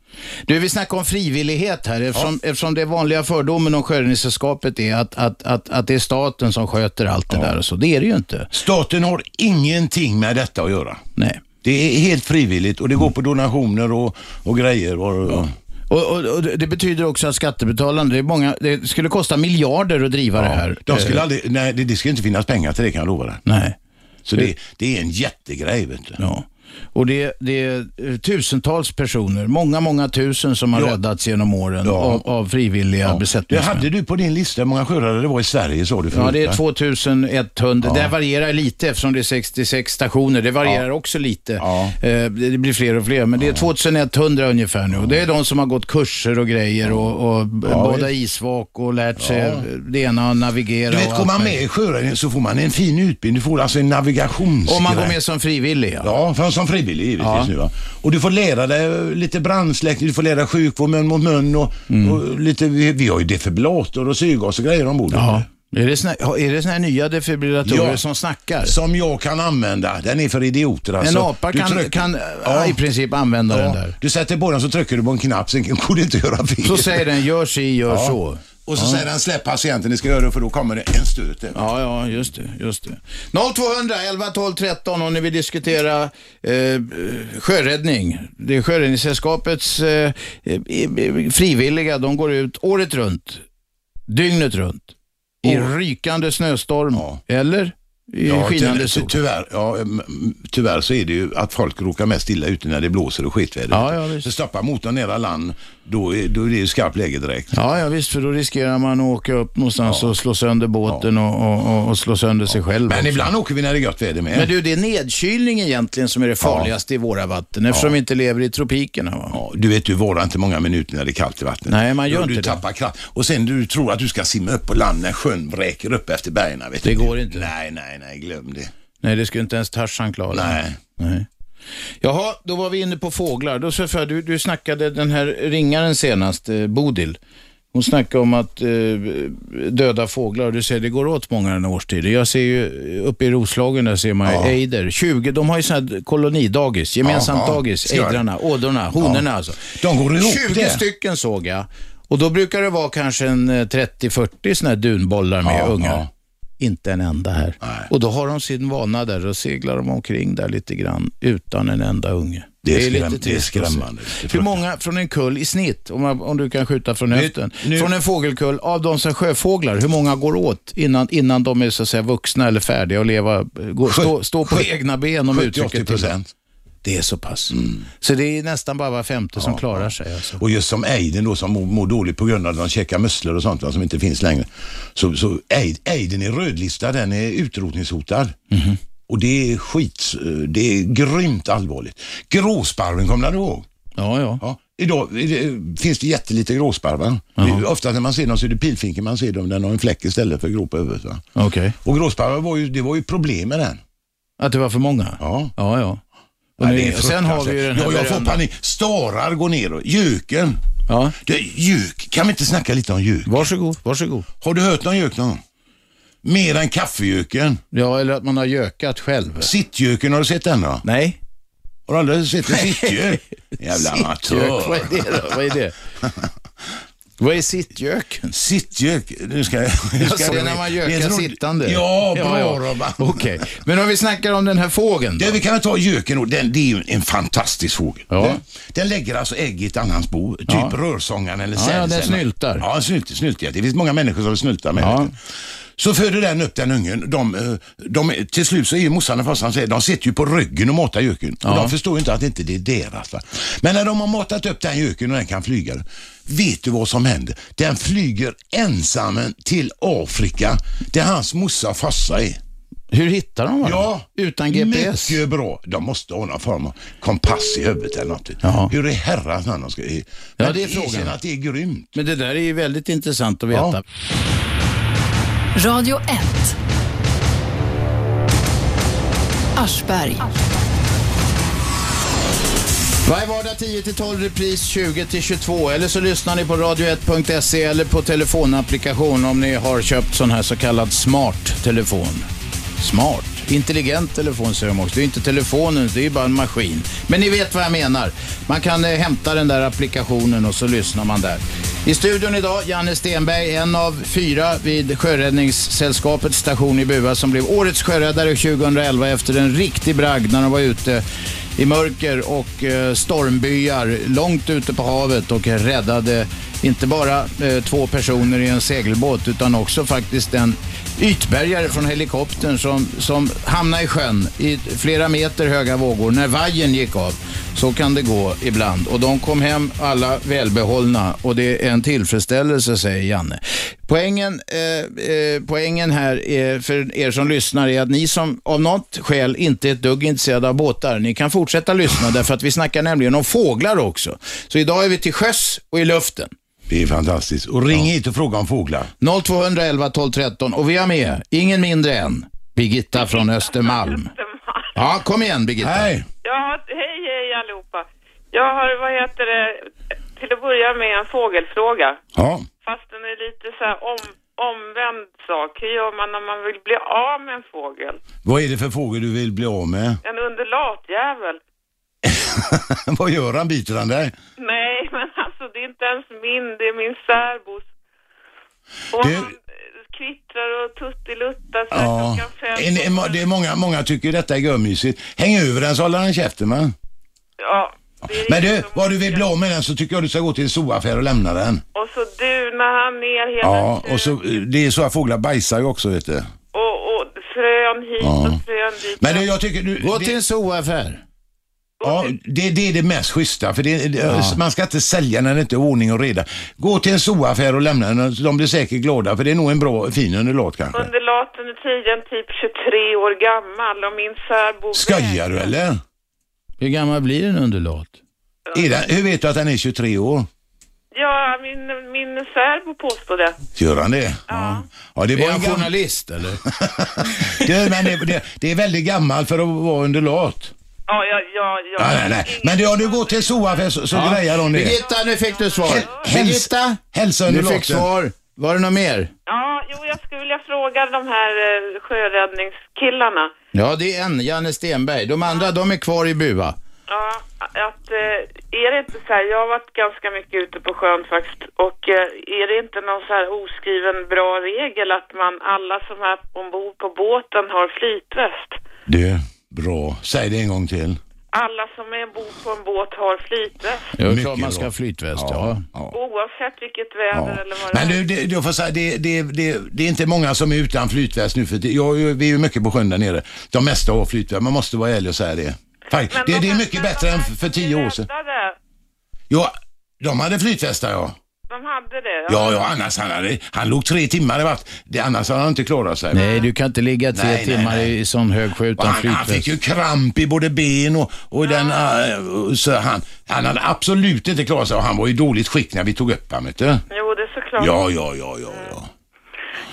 Du, vi snackar om frivillighet här eftersom, eftersom det vanliga fördomen om Sjöräddningssällskapet är att, att, att, att det är staten som sköter allt det där och så. Det är det ju inte.
Staten har ingenting med detta att göra.
Nej.
Det är helt frivilligt och det går på donationer och, och grejer. Och, och,
Och, och, och det betyder också att skattebetalarna, det, är många, det skulle kosta miljarder att driva det här.
De skulle
Eh,
aldrig, nej, det, det skulle inte finnas pengar till det kan jag lova dig.
Nej.
Så det, det är en jättegrej vet du.
Ja. Och det, det är eh, tusentals personer, många, många tusen som har
Ja.
räddats genom åren
Ja.
av, av frivilliga
Det
besättningsmän.
hade du på din lista hur många sjöräddare det var i Sverige sa du förut.
Ja, det är
va?
2100. Det varierar lite eftersom det är 66 stationer. Det varierar också lite.
Ja.
Eh, Det det blir fler och fler, men det är 2100 ungefär nu. Och det är de som har gått kurser och grejer och, och b-
Ja,
badat
visst.
isvak och lärt sig det ena och navigera
Du
och
vet, går
allt
man med
möjligt.
i sjöräddningen så får man en fin utbildning. Du får alltså en navigationsgrej.
Om man går med som frivillig, ja.
Ja, för som frivillig givetvis
Ja.
nu va. Och du får lära dig lite brandsläckning, du får lära dig sjukvård mun mot mun och,
Mm.
och lite, vi, vi har ju defibrillator och syrgas och grejer ombord.
ja. Är det såna, är det såna här nya defibrillatorer
Ja.
som snackar?
Som jag kan använda. Den är för idioter
en
alltså.
apa
Du
kan,
trycker-
kan eh,
Ja.
i princip använda den
Ja,
där.
du sätter på den så trycker du på en knapp, sen går det inte att göra fel.
Så säger den, gör si, gör
Ja.
så.
Och så säger den släpp patienten, ni ska göra det för då kommer det en stöt. där.
Ja, ja, just det. Just det. 0200 11 12 13 om ni vill diskutera eh, sjöräddning. Det är Sjöräddningssällskapets eh, eh, eh, frivilliga. De går ut året runt, dygnet runt, i rykande snöstorm eller i
Ja,
skinande
ty-
sol.
tyvärr, ja, mm, tyvärr så är det ju att folk råkar mest illa ute när det blåser och skitväder.
Ja, ja, visst.
så stoppar motorn nära land, då är, då är det ju skarpt läge direkt.
Ja, ja, visst, för då riskerar man att åka upp någonstans och slå sönder båten och, och, och, och slå sönder sig själv.
Men
också.
ibland åker vi när det är gött väder med.
Men du, det är nedkylning egentligen som är det farligaste i våra vatten eftersom vi inte lever i tropikerna. Va?
Ja, du vet, du varar inte många minuter när det är kallt i vattnet.
Nej, man gör
du,
inte
du
det.
tappar kraft. Och sen du tror att du ska simma upp på land när sjön vräker upp efter bergen. Vet
Det
du.
går inte.
Nej, nej, nej, glöm det.
Nej, det skulle inte ens Tarzan klara.
Nej.
Nej. Jaha, då var vi inne på fåglar. Då, så för, du, du snackade den här ringaren senast, eh, Bodil. Hon snackade om att eh, döda fåglar och du säger det går åt många den här årstiden. Jag ser ju eh, uppe i Roslagen, där ser man ju ejder. 20, de har ju sådana här kolonidagis, gemensamt
Ja, ja.
dagis.
Ska jag-
Ejdrarna, ådrorna, honorna alltså.
De går ihop
20
det.
stycken såg jag. Och då brukar det vara kanske en eh, 30-40 sådana här dunbollar med
Ja,
ungar.
ja.
Inte en enda här.
Nej.
Och då har de sin vana där och seglar de omkring där lite grann utan en enda unge.
Det är skräm- det är
trist att se.
skrämmande. Det är
Hur många från en kull i snitt, om, man, om du kan skjuta från höften,
nu-
från en fågelkull, av de som är sjöfåglar, hur många går åt innan, innan de är så att säga vuxna eller färdiga och leva, eh, gå, stå, stå på egna ben om uttrycket
70-80
tillåts?
procent. Mm.
Det är så pass. Så det är nästan bara var femte som klarar sig. Alltså.
Och just som ejdern då som mår, mår dåligt på grund av att de käkar musslor och sånt va, som inte finns längre. Så, så ejd, ejdern är rödlistad, den är utrotningshotad.
Mhm.
Och det är skit, eh, det är grymt allvarligt. Gråsparven kommer du ihåg?
Ja, ja.
Ja. Idag är det, eh, finns det jättelite gråsparvar. Det är Ofta när man ser dem så är det pilfinken man ser dem, den har en fläck istället för grå på huvudet. Va?
Okej.
Och gråsparvar var ju, det var ju problem med den.
Att det var för många?
Ja.
Ja, ja. Och
Ja,
nu,
det är
sen har vi ju den här
ja, jag får
berömda-
panik. Starar går neråt, göken.
Ja.
Det, gök, kan vi inte snacka lite om gök?
Varsågod, varsågod.
Har du hört någon gök någon gång? Mer än kaffegöken.
Ja, eller att man har gökat själv.
Sittgöken, har du sett den då?
Nej.
Har du aldrig sett en sittgök? Jävla
Sittgök, vad
amatör.
är det då? Vad är det? Vad är sittgöken?
Sittgök, nu ska jag... Nu ska
Alltså, det är när man
det är
gökar
ett roligt-
sittande.
Ja, bra Robban.
Okej, men om vi snackar om den här fågeln då?
Det, vi kan väl ta göken då. Den, det är ju en fantastisk fågel.
Ja.
Den, den lägger alltså ägg i ett annans bo, typ rörsångaren eller
Ja, ja, den
sälsällan.
snyltar.
Ja, snylt, snyltiga. Det finns många människor som snyltar med.
Ja.
den. Så föder den upp den ungen. De, eh, de, till slut så är ju morsan och farsan säger, de sitter ju på ryggen och matar göken. Och de förstår ju inte att inte det är deras. Va? Men när de har matat upp den göken och den kan flyga, vet du vad som händer? Den flyger ensam till Afrika, där hans morsa och farsa är.
Hur hittar de varandra?
Ja,
Utan GPS?
Mycket bra. De måste ha någon form av kompass i huvudet eller något.
Ja.
Hur i herrans namn de ska... Men
Ja, det är
erkänn
frågan.
att det är grymt.
Men det där är ju väldigt intressant att veta.
Ja.
Radio 1. Aschberg.
Varje vardag 10-12 repris 20-22 eller så lyssnar ni på radio1.se eller på telefonapplikation om ni har köpt sån här så kallad smart telefon. Smart? Intelligent telefon säger de också. Det är inte telefonen, det är ju bara en maskin. Men ni vet vad jag menar. Man kan eh, hämta den där applikationen och så lyssnar man där. I studion idag, Janne Stenberg, en av fyra vid Sjöräddningssällskapets station i Bua som blev årets sjöräddare 2011 efter en riktig bragd när de var ute i mörker och eh, stormbyar långt ute på havet och räddade inte bara eh, två personer i en segelbåt utan också faktiskt en ytbärgare från helikoptern som, som hamnade i sjön i flera meter höga vågor när vajern gick av. Så kan det gå ibland och de kom hem alla välbehållna och det är en tillfredsställelse säger Janne. Poängen, eh, eh, poängen här är, för er som lyssnar är att ni som av något skäl inte är ett dugg intresserade av båtar, ni kan fortsätta lyssna därför att vi snackar nämligen om fåglar också. Så idag är vi till sjöss och i luften.
Det är fantastiskt. Och ring hit och fråga om fåglar.
0211 12 13 och vi har med, ingen mindre än, Birgitta från Östermalm. Ja, kom igen Birgitta.
Hej.
Ja, hej hej allihopa. Jag har, vad heter det, till att börja med en fågelfråga.
Ja.
Fast den är lite så här om, omvänd sak. Hur gör man när man vill bli av med en fågel?
Vad är det för fågel du vill bli av med?
En underlatjävel?
Vad gör han? Biter han dig?
Nej, men alltså det är inte ens min, det är min särbos. Och
Det-
han kvittrar och tuttiluttar så här
Ja.
klockan fem.
En, en, det är många, många tycker detta är görmysigt. Häng över den så håller han käften va?
Ja, det är
Men du,
liksom-
vad du vill bli av med den så tycker jag du ska gå till en zooaffär och lämna den.
Och så dunar han ner hela
Ja,
tiden.
och så, det är så att fåglar bajsar ju också vet du.
Och, och frön hit och frön dit.
Men det, jag tycker du...
Gå
det,
till en zooaffär.
Ja, det, det är det mest schyssta. För det, det, Man ska inte sälja när det inte är ordning och reda. Gå till en zooaffär och lämna den. De blir säkert glada för det är nog en bra, fin underlåt kanske.
Underlaten är tiden typ 23 år gammal och min särbo...
Skojar du eller?
Hur gammal blir en underlåt?
Är den, hur vet du att den är 23 år?
Ja, min, min särbo påstod det.
Gör han det? Ja. ja det,
Är
var
han
en gammal,
journalist eller?
det, men det, det, det är väldigt gammal för att vara underlåt.
Ja, ja, ja. ja.
Nej, nej, nej. Men det, om du går till en zooaffär så, så grejar de det.
Birgitta, nu fick du svar.
Häls-
Birgitta,
hälsa
du fick
underlåten.
svar. Var det något mer?
Ja, jo, jag skulle vilja fråga de här eh, sjöräddningskillarna.
Ja, det är en, Janne Stenberg. De andra, de är kvar i bua.
Ja, att eh, är det inte så här, jag har varit ganska mycket ute på sjön faktiskt och eh, är det inte någon så här oskriven bra regel att man, alla som är ombord på båten har flytväst?
Du, bra. Säg det en gång till.
Alla som är ombord på en båt har flytväst
Ja, det är
Mycket
klart man ska ha
bra.
flytväst, ja.
ja.
oavsett vilket väder eller vad
Men
det
du,
är.
det, jag får säga, det, det, det, det är inte många som är utan flytväst nu för det, jag, jag- vi är ju mycket på sjön där nere. De mesta har flytväst, man måste vara ärlig och säga det. Fakt,
Men
det,
de
det är
här-
mycket
men
bättre
de
än
här
för- för tio år sedan.
räddade,
Ja, de hade flytvästar ja.
De hade det?
Ja, ja, annars han hade, han låg tre timmar i vatten. Det- Annars hade han inte klarat sig.
Nej, du kan inte ligga tre
Nej, nej,
timmar
nej.
i sån hög sjö
Och
utan
Han, han fick
flytväst.
ju kramp i både ben och, och den, äh, så han, han hade absolut inte klarat sig och han var i dåligt skick när vi tog upp honom. vet du?
Jo, det är såklart.
Ja, ja, ja, ja, ja.
Mm.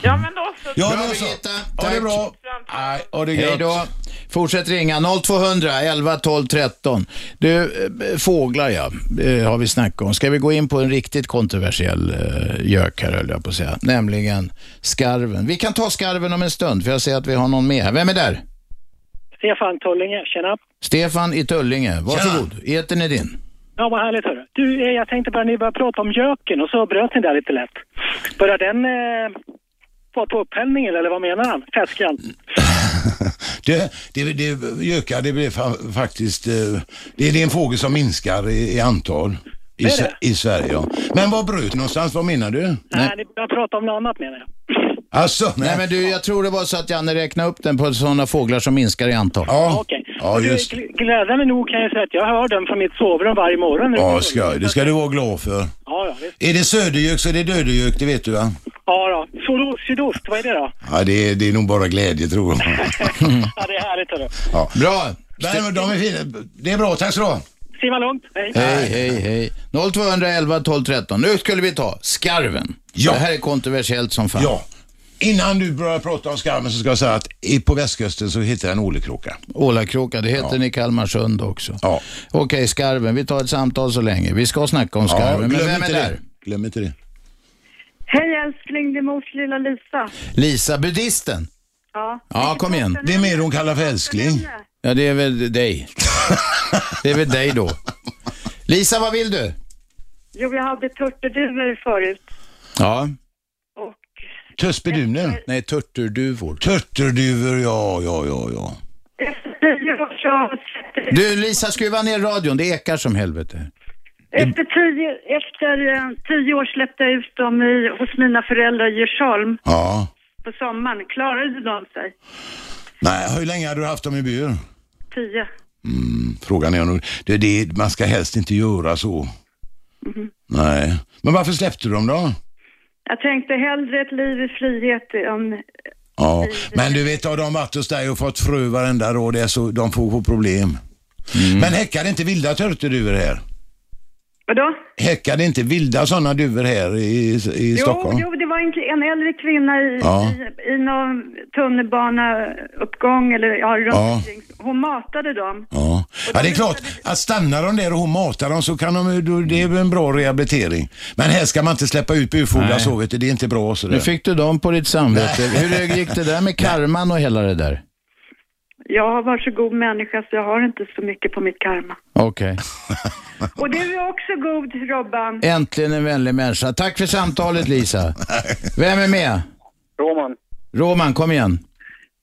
Ja, men då så.
Ja,
Bra,
då så.
Birgitta.
Ha det
Tack.
bra. Nej, ha det
Hej
gött.
då. Fortsätt ringa 0200 11 12 13. Du, eh, fåglar ja, eh, har vi snackat om. Ska vi gå in på en riktigt kontroversiell eh, gök här höll jag på att säga. Nämligen skarven. Vi kan ta skarven om en stund för jag ser att vi har någon med här. Vem är där?
Stefan Tullinge, tjena.
Stefan i Tullinge. Varsågod, etern är din.
Ja, vad härligt hörru. Du, eh, jag tänkte bara ni började prata om göken och så bröt ni där lite lätt. Börjar den eh, vara på upphällningen eller vad menar han? Fäskan?
Mm, Det, det, det gökar, det blir fa- faktiskt, eh, det, det är en fågel som minskar i, i antal i,
Är
Sve-
det?
i Sverige. Ja. Men var bröt någonstans, vad menar du?
Nej, ni började prata om något annat menar jag.
Alltså, nej.
Nej men du, jag tror det var så att Janne räknade upp den på sådana fåglar som minskar i antal.
ja,
Okej.
ja,
Du,
just
gl- Glädjande nog kan jag säga att jag hör den från mitt sovrum varje morgon. nu.
ja, ska, det ska du vara glad för.
Ja, ja, visst.
Är det södergök så är det dödergök, det vet du va?
Ja, då. Sol- sydost, vad är det då?
Ja, det, är- det är nog bara glädje tror jag.
ja, det är härligt hörru.
Ja.
Bra.
Men de är fina. Det är bra, tack så du ha.
Simma lugnt. Hej.
Hej, hej, hej. 0211 12 13. Nu skulle vi ta skarven.
Ja.
Det här är kontroversiellt som fan.
Ja, Innan du börjar prata om skarven så ska jag säga att i- på västkusten så hittade jag en ålekråka.
Ålakråka, det heter den i Kalmarsund också.
Ja.
Okej, skarven. Vi tar ett samtal så länge. Vi ska snacka om skarven. men
glöm
vem är
inte
där?
det. Glöm inte det.
Hej älskling, det är mors lilla Lisa.
Lisa, buddhisten.
Ja.
Ja, kom igen.
Det är mer hon kallar för älskling.
Ja, det är väl dig. det är väl dig då. Lisa, vad vill du?
Jo, jag hade turturduvor förut.
Ja.
Tussbeduner?
Nej, turturduvor.
Turturduvor, ja, ja, ja, ja.
Efter tio år så...
Du, Lisa, skruva ner radion. Det ekar som helvete.
Efter tio, efter eh, tio år släppte jag ut dem i, hos mina föräldrar i Djursholm
Ja.
på sommaren. Klarade de sig?
Nej, hur länge har du haft dem i bur?
Tio.
Mm, frågan är nog... Det, det, man ska helst inte göra så. Nej. Men varför släppte du dem då?
Mhm. Jag tänkte hellre ett liv i frihet än...
Ja, men du vet, har de varit hos dig och fått frö varenda dag, det är så, de får, får problem.
Mm.
Men häckar inte vilda turturduvor här?
Vadå?
Häckar inte vilda sådana duvor här i, i Stockholm?
Jo, jo, det var en, en äldre kvinna i,
Ja.
i, i någon tunnelbanauppgång eller ja, runt
Ja.
omkring. Hon matade dem.
Ja. ja, det är klart. Att stanna de där och hon matar dem så kan de, ju- då- det är väl en bra rehabilitering. Men här ska man inte släppa ut bufodlar
Nej.
så vet du, det är inte bra. Sådär.
Nu fick du dem på ditt samvete.
Nej.
Hur gick det där med karman och hela det där?
Jag har varit så god människa så jag har inte så mycket på mitt karma.
Okej.
Och du är också god, Robban.
Äntligen en vänlig människa. Tack för samtalet, Lisa. Vem är med?
Roman.
Roman, kom igen.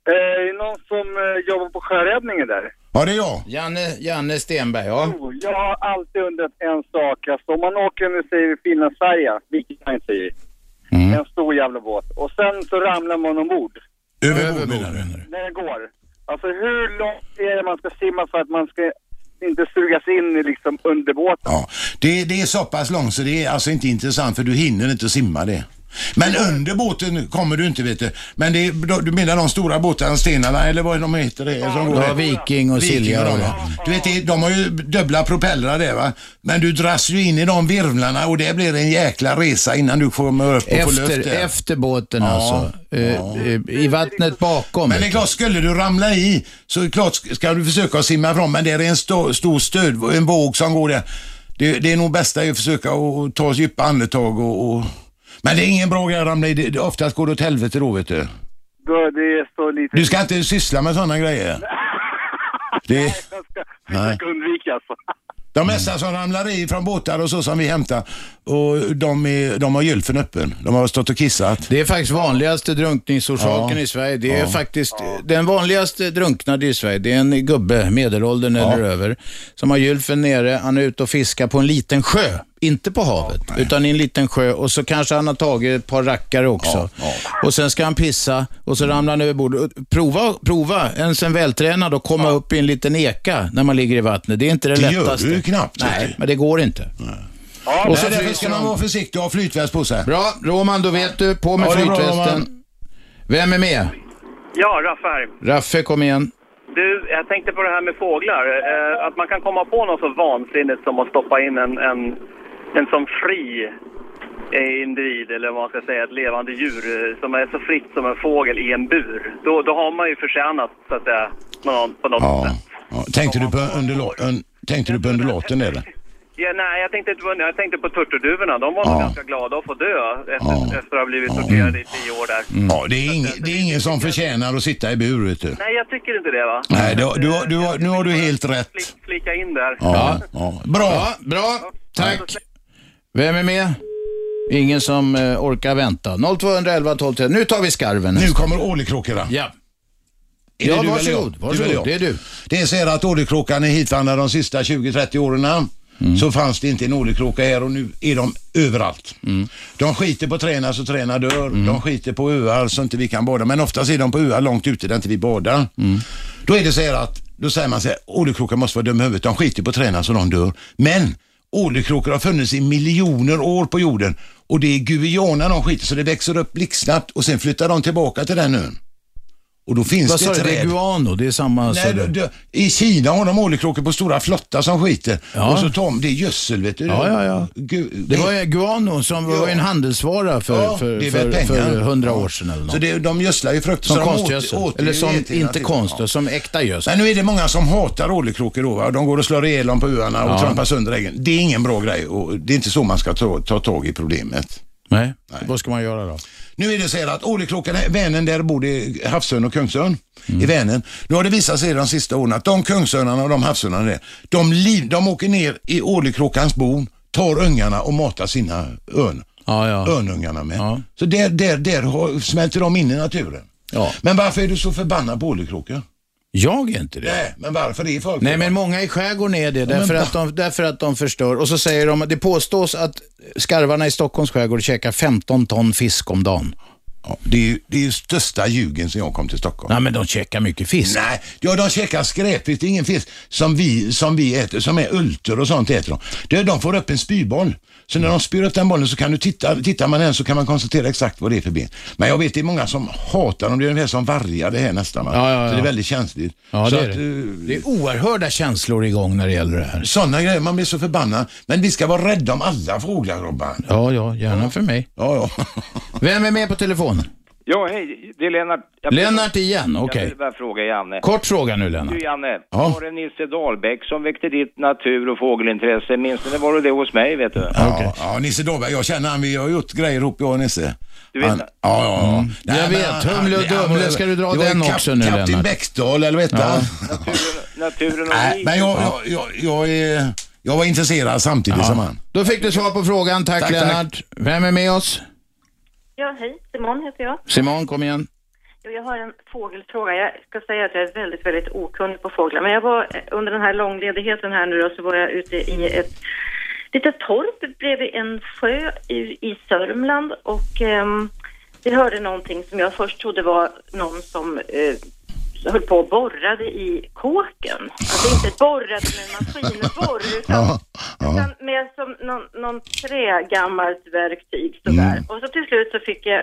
Eh, är det någon som eh, jobbar på sjöräddningen där?
Ja, det är jag.
Janne, Janne Stenberg, ja.
Jo, Jag har alltid undrat en sak. Alltså, om man åker, nu säger vi Finlandsfärja, vilket man inte säger,
Mm.
en stor jävla båt. Och sen så ramlar man ombord
Överbord menar du?
när det går. Alltså hur långt är det man ska simma för att man ska inte sugas in i liksom under båten?
Ja. Det, det är så pass långt så det är alltså inte intressant för du hinner inte simma det. Men under båten kommer du inte vet du. Men det, är- du menar de stora båtarna, stenarna eller vad de heter det? som går
Ja,
där?
Viking och Silja
de,
och
ja. Du vet, det- de har ju dubbla propellrar där va. Men du dras ju in i de virvlarna och det blir en jäkla resa innan du kommer upp och får luft.
Efter,
där.
efter båten
Ja,
alltså. Eh, eh, I vattnet bakom.
liksom- Men det är klart, skulle du ramla i så är det klart ska du försöka att simma ifrån, men det är en stor, stor stöd, en våg som går där. Det, det är nog bästa att försöka att ta djupa andetag och, och... Men det är ingen bra grej att ramla i, det, det, oftast går det åt helvete då vet du.
Då, det är så lite...
Du ska inte syssla med sådana grejer. Det, nej.
Försök undvika alltså.
De mesta som ramlar i från båtar och så som vi hämtar, och de, är, de har gylfen öppen. De har stått och kissat.
Det är faktiskt vanligaste drunkningsorsaken i Sverige. Det är
Ja.
faktiskt den vanligaste drunknade i Sverige. Det är en gubbe, medelåldern eller över, som har gylfen nere. Han är ute och fiskar på en liten sjö. Inte på havet, utan i en liten sjö. Och så kanske han har tagit ett par rackare också. Och sen ska han pissa och så ramlar han över bordet. Prova, prova ens en vältränad och komma upp i en liten eka när man ligger i vattnet. Det är inte det,
Det gör
lättaste.
du ju knappt,
Nej,
vet
men det går inte.
Ja,
Och
och
så
så därför
fryser
ska man
de.
vara försiktig och ha flytväst på sig.
Bra, Roman, då vet du. På med
Ja, det är bra,
flytvästen. Vem är med?
Ja, Raffar.
Raffe, kom igen.
Du, jag tänkte på det här med fåglar. Eh, att man kan komma på något så vansinnigt som att stoppa in en, en, en som fri eh, individ, eller vad man ska säga, ett levande djur eh, som är så fritt som en fågel i en bur. Då, då har man ju förtjänat, så att säga, någon, på något
Ja.
sätt.
ja. Tänkte, du på undula- un- tänkte du på undulaten eller?
Ja, nej, jag tänkte, inte på- jag tänkte på turturduvorna. De var nog ganska glada att få dö efter, efter att ha blivit torterade i tio år där.
Mm. Ja, det är, ingen, det är ingen som förtjänar att sitta i bur, vet du.
Nej, jag tycker inte det, va?
Nej, du, du, har- du, har- nu har du helt rätt.
Flika in där.
Ja, ja. Bra.
bra. Tack. Vem är med? Ingen som eh, orkar vänta. 0211 12 13. Nu tar vi skarven.
Nu kommer ålekråkorna.
Ja.
Är
Ja,
det du eller
varsågod,
jag?
varsågod,
eller jag?
det är du.
Det är så här att ålekråkan är hitvandrad de sista 20-30 åren.
Mm.
Så fanns det inte en ålekråka här och nu är de överallt.
Mm.
De skiter på träna så träna dör. De skiter på öar så inte vi kan bada. Men oftast är de på öar långt ute där inte vi badar. Då är det så här att, då säger man så här, ålekråkan måste vara dum i huvudet. De skiter på träna så de dör. Men ålekråkor har funnits i miljoner år på jorden och det är guiana de skiter så det växer upp blixtsnabbt och sen flyttar de tillbaka till den ön. Och då finns
Vad
det
sa du? Det är
träd.
guano, det är samma... sa
Nej,
du.
du, du, I Kina har de oljekråkor på stora flottar som skiter och så tar de det är gödsel vet du.
Ja, ja, ja.
Gud,
Det var ju guano som var en handelsvara för,
Ja, det
för,
är väl
för,
pengar.
för 100 år sedan eller något.
Så det, de gödslar ju frukter.
Som
så de åter-
konstgödsel.
åter-
Eller som
åter-
inte
till-
konst,
ja.
som äkta gödsel.
Men nu är det många som hatar oljekråkor då. Va? De går och slår ihjäl dem på öarna och
Ja.
trampar sönder äggen. Det är ingen bra grej och det är inte så man ska ta, ta tag i problemet.
Nej. Vad ska man göra då?
Nu är det så här att oljekråkan, Vänern där bor det havsörn och kungsörn i Vänern. Nu har det visat sig de sista åren att de kungsörnarna och de havsörnarna där, de, liv, de åker ner i oljekråkans bon, tar ungarna och matar sina örn. Örnungarna med. Så där, där, där har, smälter de in i naturen. Men varför är du så förbannad på oljekråkor?
Jag är inte det.
Nej, men varför är folk
Nej, men många i skärgården är det,
men
därför,
va-
att de, därför att de förstör. Och så säger de, det påstås att skarvarna i Stockholms skärgård käkar 15 ton fisk om dagen.
Ja, det är ju det är ju största ljugen sen jag kom till Stockholm.
Nej, men de käkar mycket fisk.
Nej, ja, de käkar skräpfisk. Det är ingen fisk som vi, som vi äter, som är ultor och sånt äter de. Det, de får upp en spyboll. Så när de spyr upp den bollen så kan du titta, tittar man den så kan man konstatera exakt vad det är för ben. Men jag vet det är många som hatar dem. Det är ungefär som vargar det här nästan. va?
Ja, ja, ja.
Så det är väldigt känsligt.
Ja,
så
det är
att,
det.
eh,
Det är oerhörda känslor igång när det gäller det här.
Sådana grejer, man blir så förbannad. Men vi ska vara rädda om alla fåglar Robban.
Ja, ja, gärna för mig.
Ja, ja.
Vem är med på telefon?
Ja, hej, det är Lennart. Jag-
Lennart igen, okej.
Jag vill bara fråga Janne.
Kort fråga nu, Lennart.
Du Janne,
Ja.
var det Nisse Dahlbäck som väckte ditt natur och fågelintresse? Minns det var det det hos mig, vet du?
Ja, ja, Nisse Dahlberg, jag känner han, vi har gjort grejer ihop jag och Nisse.
Du vet-
han, ja, ja, ja.
Mm. Jag
men
vet, Humle och
han- han-
Dumle, ska du dra
det var ju
den
kap-
också nu,
Kapten
Lennart?
Bäckdahl, eller vet du?
Ja.
han?
Naturen och
Nej,
livet.
men jag, jag, jag, jag, är, jag var intresserad samtidigt som han.
Då fick du svar på frågan, tack,
Tack, tack.
Lennart. Vem är med oss?
Ja, hej. Simon heter jag.
Simon, kom igen.
Jo, Jag har en fågelfråga. Jag ska säga att jag är väldigt, väldigt okunnig på fåglar. Men jag var eh, under den här långledigheten här nu då, så var jag ute i ett litet torp bredvid en sjö i, i Sörmland och ehm, vi hörde någonting som jag först trodde var någon som eh, höll på och borrade i kåken. Alltså inte borrade med en maskinborr utan
Ja.
utan med som någon, någon trägammalt verktyg sådär.
Mm.
Och så till slut så fick jag,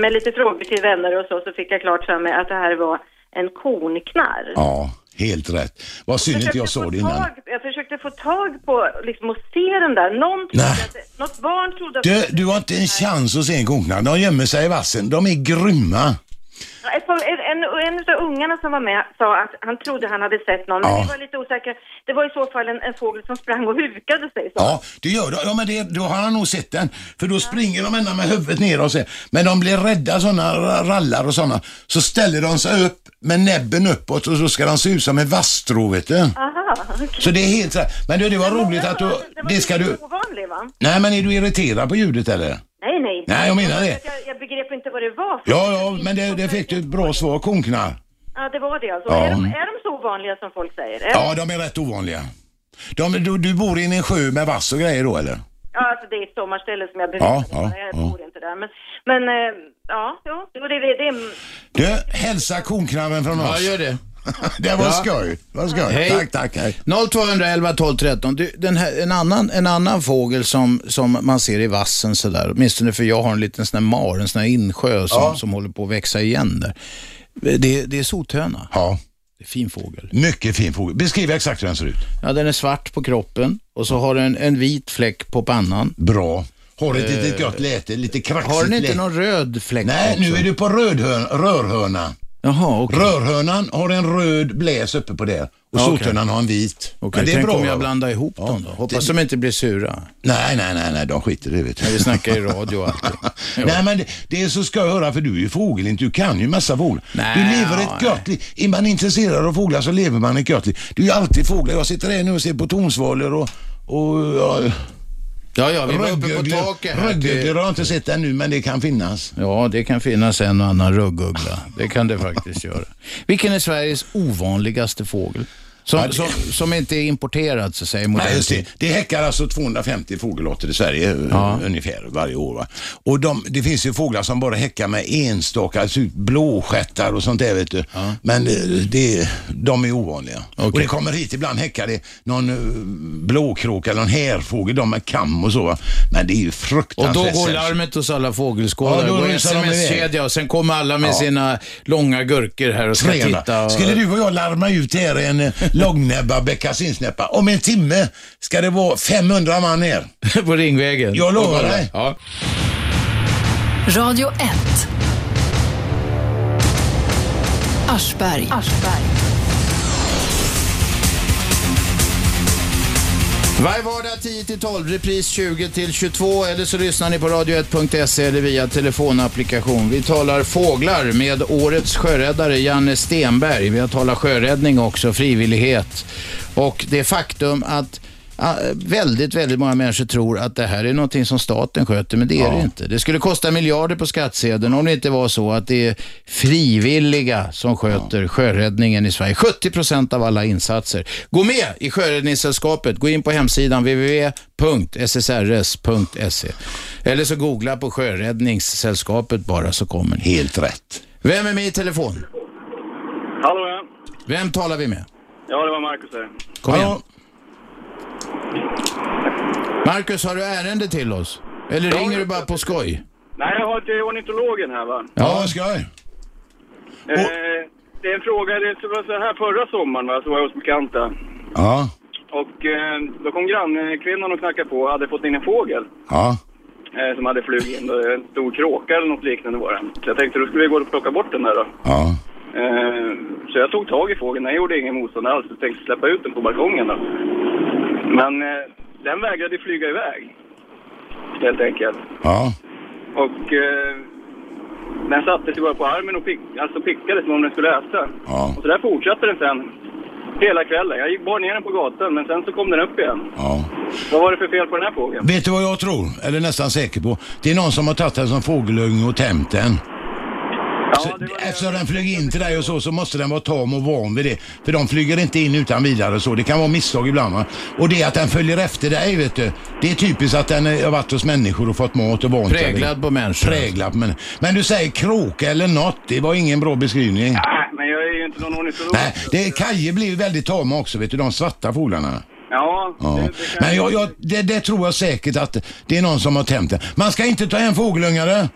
med lite frågor till vänner och så, så fick jag klart för mig att det här var en kornknarr.
ja, helt rätt. Vad synd inte jag såg det innan.
Tag- Jag försökte få tag på, liksom att se den där. Någon trodde att, det- något barn trodde att...
Du, du har inte en chans att se en konknall. De gömmer sig i vassen. De är grymma.
Ja, ett par- En, en, en av ungarna som var med sa att han trodde han hade sett någon, men
Ja.
vi var lite osäkra. Det var i så fall en, en fågel som sprang och hukade sig. Så.
Ja, det gör de. Ja, men det, då har han nog sett den. För då springer de ända med huvudet ner och så. Men de blir rädda sådana rallar och sådana. Så ställer de sig upp med näbben uppåt och så ska de se ut som en vasstrå vet du.
Aha, okej.
Så det är helt så här. Men du, det var roligt att du... Det ska du...
Ovanlig va?
Nej, men är du irriterad på ljudet eller?
Nej, nej.
Nej, jag menar det.
Jag, jag begrep inte vad det var. för-
Ja, ja, men det, det fick du ett bra svar, konknar.
Ja, det var det alltså.
Ja.
Är, de, är de så vanliga som folk säger? Är-
Ja, de är rätt ovanliga. De, du, du bor inne i en sjö med vass och grejer då eller?
ja, alltså det är ett sommarställe som jag
Ja,
bevisar.
ja,
jag
ja.
bor inte där. Men, men eh, ja, jo, det, det, det, det,
Du, hälsa konknarren från oss.
Ja, gör det.
Det var
Ja.
skoj. Det var skoj.
Hej.
Tack, tack. Hej.
0211 12 13. Du, den här, en, annan, en annan fågel som, som man ser i vassen sådär, åtminstone för jag har en liten sån här mar, en sån här insjö som,
Ja.
som håller på att växa igen där. Det, det är sothöna.
Ja.
Det är fin fågel.
Mycket fin fågel. Beskriv exakt hur den ser ut.
Ja, den är svart på kroppen och så har den en vit fläck på pannan.
Bra. Har ett litet
Eh,
gött läte, lite kraxigt
Har den inte
läte.
någon röd fläck
Nej,
också?
nu är du på rödhörn, rörhörna.
Jaha, okej.
Rörhörnan har en röd bläs uppe på det och
Ja, okej.
sothörnan har en vit.
Okej,
Men det är
tänk
bra.
om jag
va?
blandar ihop dem då. Hoppas
Det-
de inte blir sura.
Nej, nej, nej, nej, de skiter i det vet du.
När vi snackar i radio och allt.
Nej men det, det är så ska jag höra för du är ju fågelint, du kan ju massa fåglar.
Nej,
Du lever ett
ja,
gött liv. Är man intresserad av fåglar så lever man ett gött liv. Du är ju alltid fåglar. Jag sitter här nu och ser på tonsvalor och... och ja,
Ja, ja, vi var uppe på taket här.
Rödgugglor har jag inte sett ännu men det kan finnas.
Ja, det kan finnas en och annan rugguggla. Det kan det faktiskt göra. Vilken är Sveriges ovanligaste fågel? Som, som, som inte är importerad, så säger
Nej,
modellen.
just det. det häckar alltså 250 fågelarter i Sverige eh, ungefär varje år. Va? Och de, det finns ju fåglar som bara häckar med enstaka, alltså blåstjärtar och sånt där vet du. Men eh, det, de är ovanliga. Och det kommer hit ibland häckar det någon eh, blåkråka eller någon härfågel, de med kam och så. Va? Men det är ju
Och
fruktansvärt
då går
sällsynt.
larmet hos alla fågelskådare.
Ja, då
går
rusar de iväg.
sms-kedja och sen kommer alla med
Ja.
sina långa gurkor här och ska
Trevna.
titta. Och...
Skulle du och jag larma ut här en eh, långnäbba bäckasinsnäppa? Om en timme ska det vara 500 man här.
På Ringvägen?
Jag lovar
Ja.
dig.
Ja.
Radio 1. Aschberg.
Varje vardag 10-12, repris 20-22 eller så lyssnar ni på radio1.se eller via telefonapplikation. Vi talar fåglar med årets sjöräddare Janne Stenberg. Vi har talat sjöräddning också, frivillighet och det faktum att ah, väldigt, väldigt många människor tror att det här är någonting som staten sköter, men det är det inte. Det skulle kosta miljarder på skattsedeln om det inte var så att det är frivilliga som sköter sjöräddningen i Sverige. 70 procent av alla insatser. Gå med i Sjöräddningssällskapet. Gå in på hemsidan www.ssrs.se E. eller så googla på Sjöräddningssällskapet bara så kommer ni.
Helt rätt.
Vem är med i telefon?
Hallå ja.
Vem talar vi med?
Ja, det var Marcus här.
Kom igen. Marcus, har du ärende till oss? Eller ringer du bara på skoj?
Nej, jag har till ornitologen här va.
Ja, vad ska jag?
Eh, det är en fråga, det var så här förra sommaren va, så var jag hos bekanta.
Ja,
Och eh, då kom grannkvinnan och knackade på och hade fått in en fågel.
ja.
Eh, som hade flugit in, då, en stor kråka eller något liknande var det. Så jag tänkte då skulle vi gå och plocka bort den där då.
Ja.
Eh, så jag tog tag i fågeln, den gjorde ingen motstånd alls. Jag tänkte släppa ut den på balkongen då. Men eh, den vägrade flyga iväg. Helt enkelt.
Ja.
Och eh, den satte sig bara på armen och pick, alltså pickade som om den skulle äta.
Ja.
Och så där fortsatte den sen hela kvällen. Jag gick bara ner den på gatan men sen så kom den upp igen.
Ja.
Vad var det för fel på den här fågeln?
Vet du vad jag tror? Eller nästan säker på? Det är någon som har tagit den som fågelugn och tämt den. Så, eftersom den flög in till dig och så, så måste den vara tam och van vid det. För de flyger inte in utan vidare så. Det kan vara misstag ibland va? Och det att den följer efter dig, vet du. Det är typiskt att den eh, har varit hos människor och fått mat och vant sig vid-
Präglad på människor. alltså.
Präglad på människor. Men du säger kråka eller något. Det var ingen bra beskrivning.
Nej, Äh, men jag är ju inte någon ornitolog.
Nej, det, kajer blir ju väldigt tama också, vet du. De svarta fåglarna.
Ja,
Ja. Men jag, jag, det, det tror jag säkert att det är någon som har tänt det. Man ska inte ta hem fågelungare.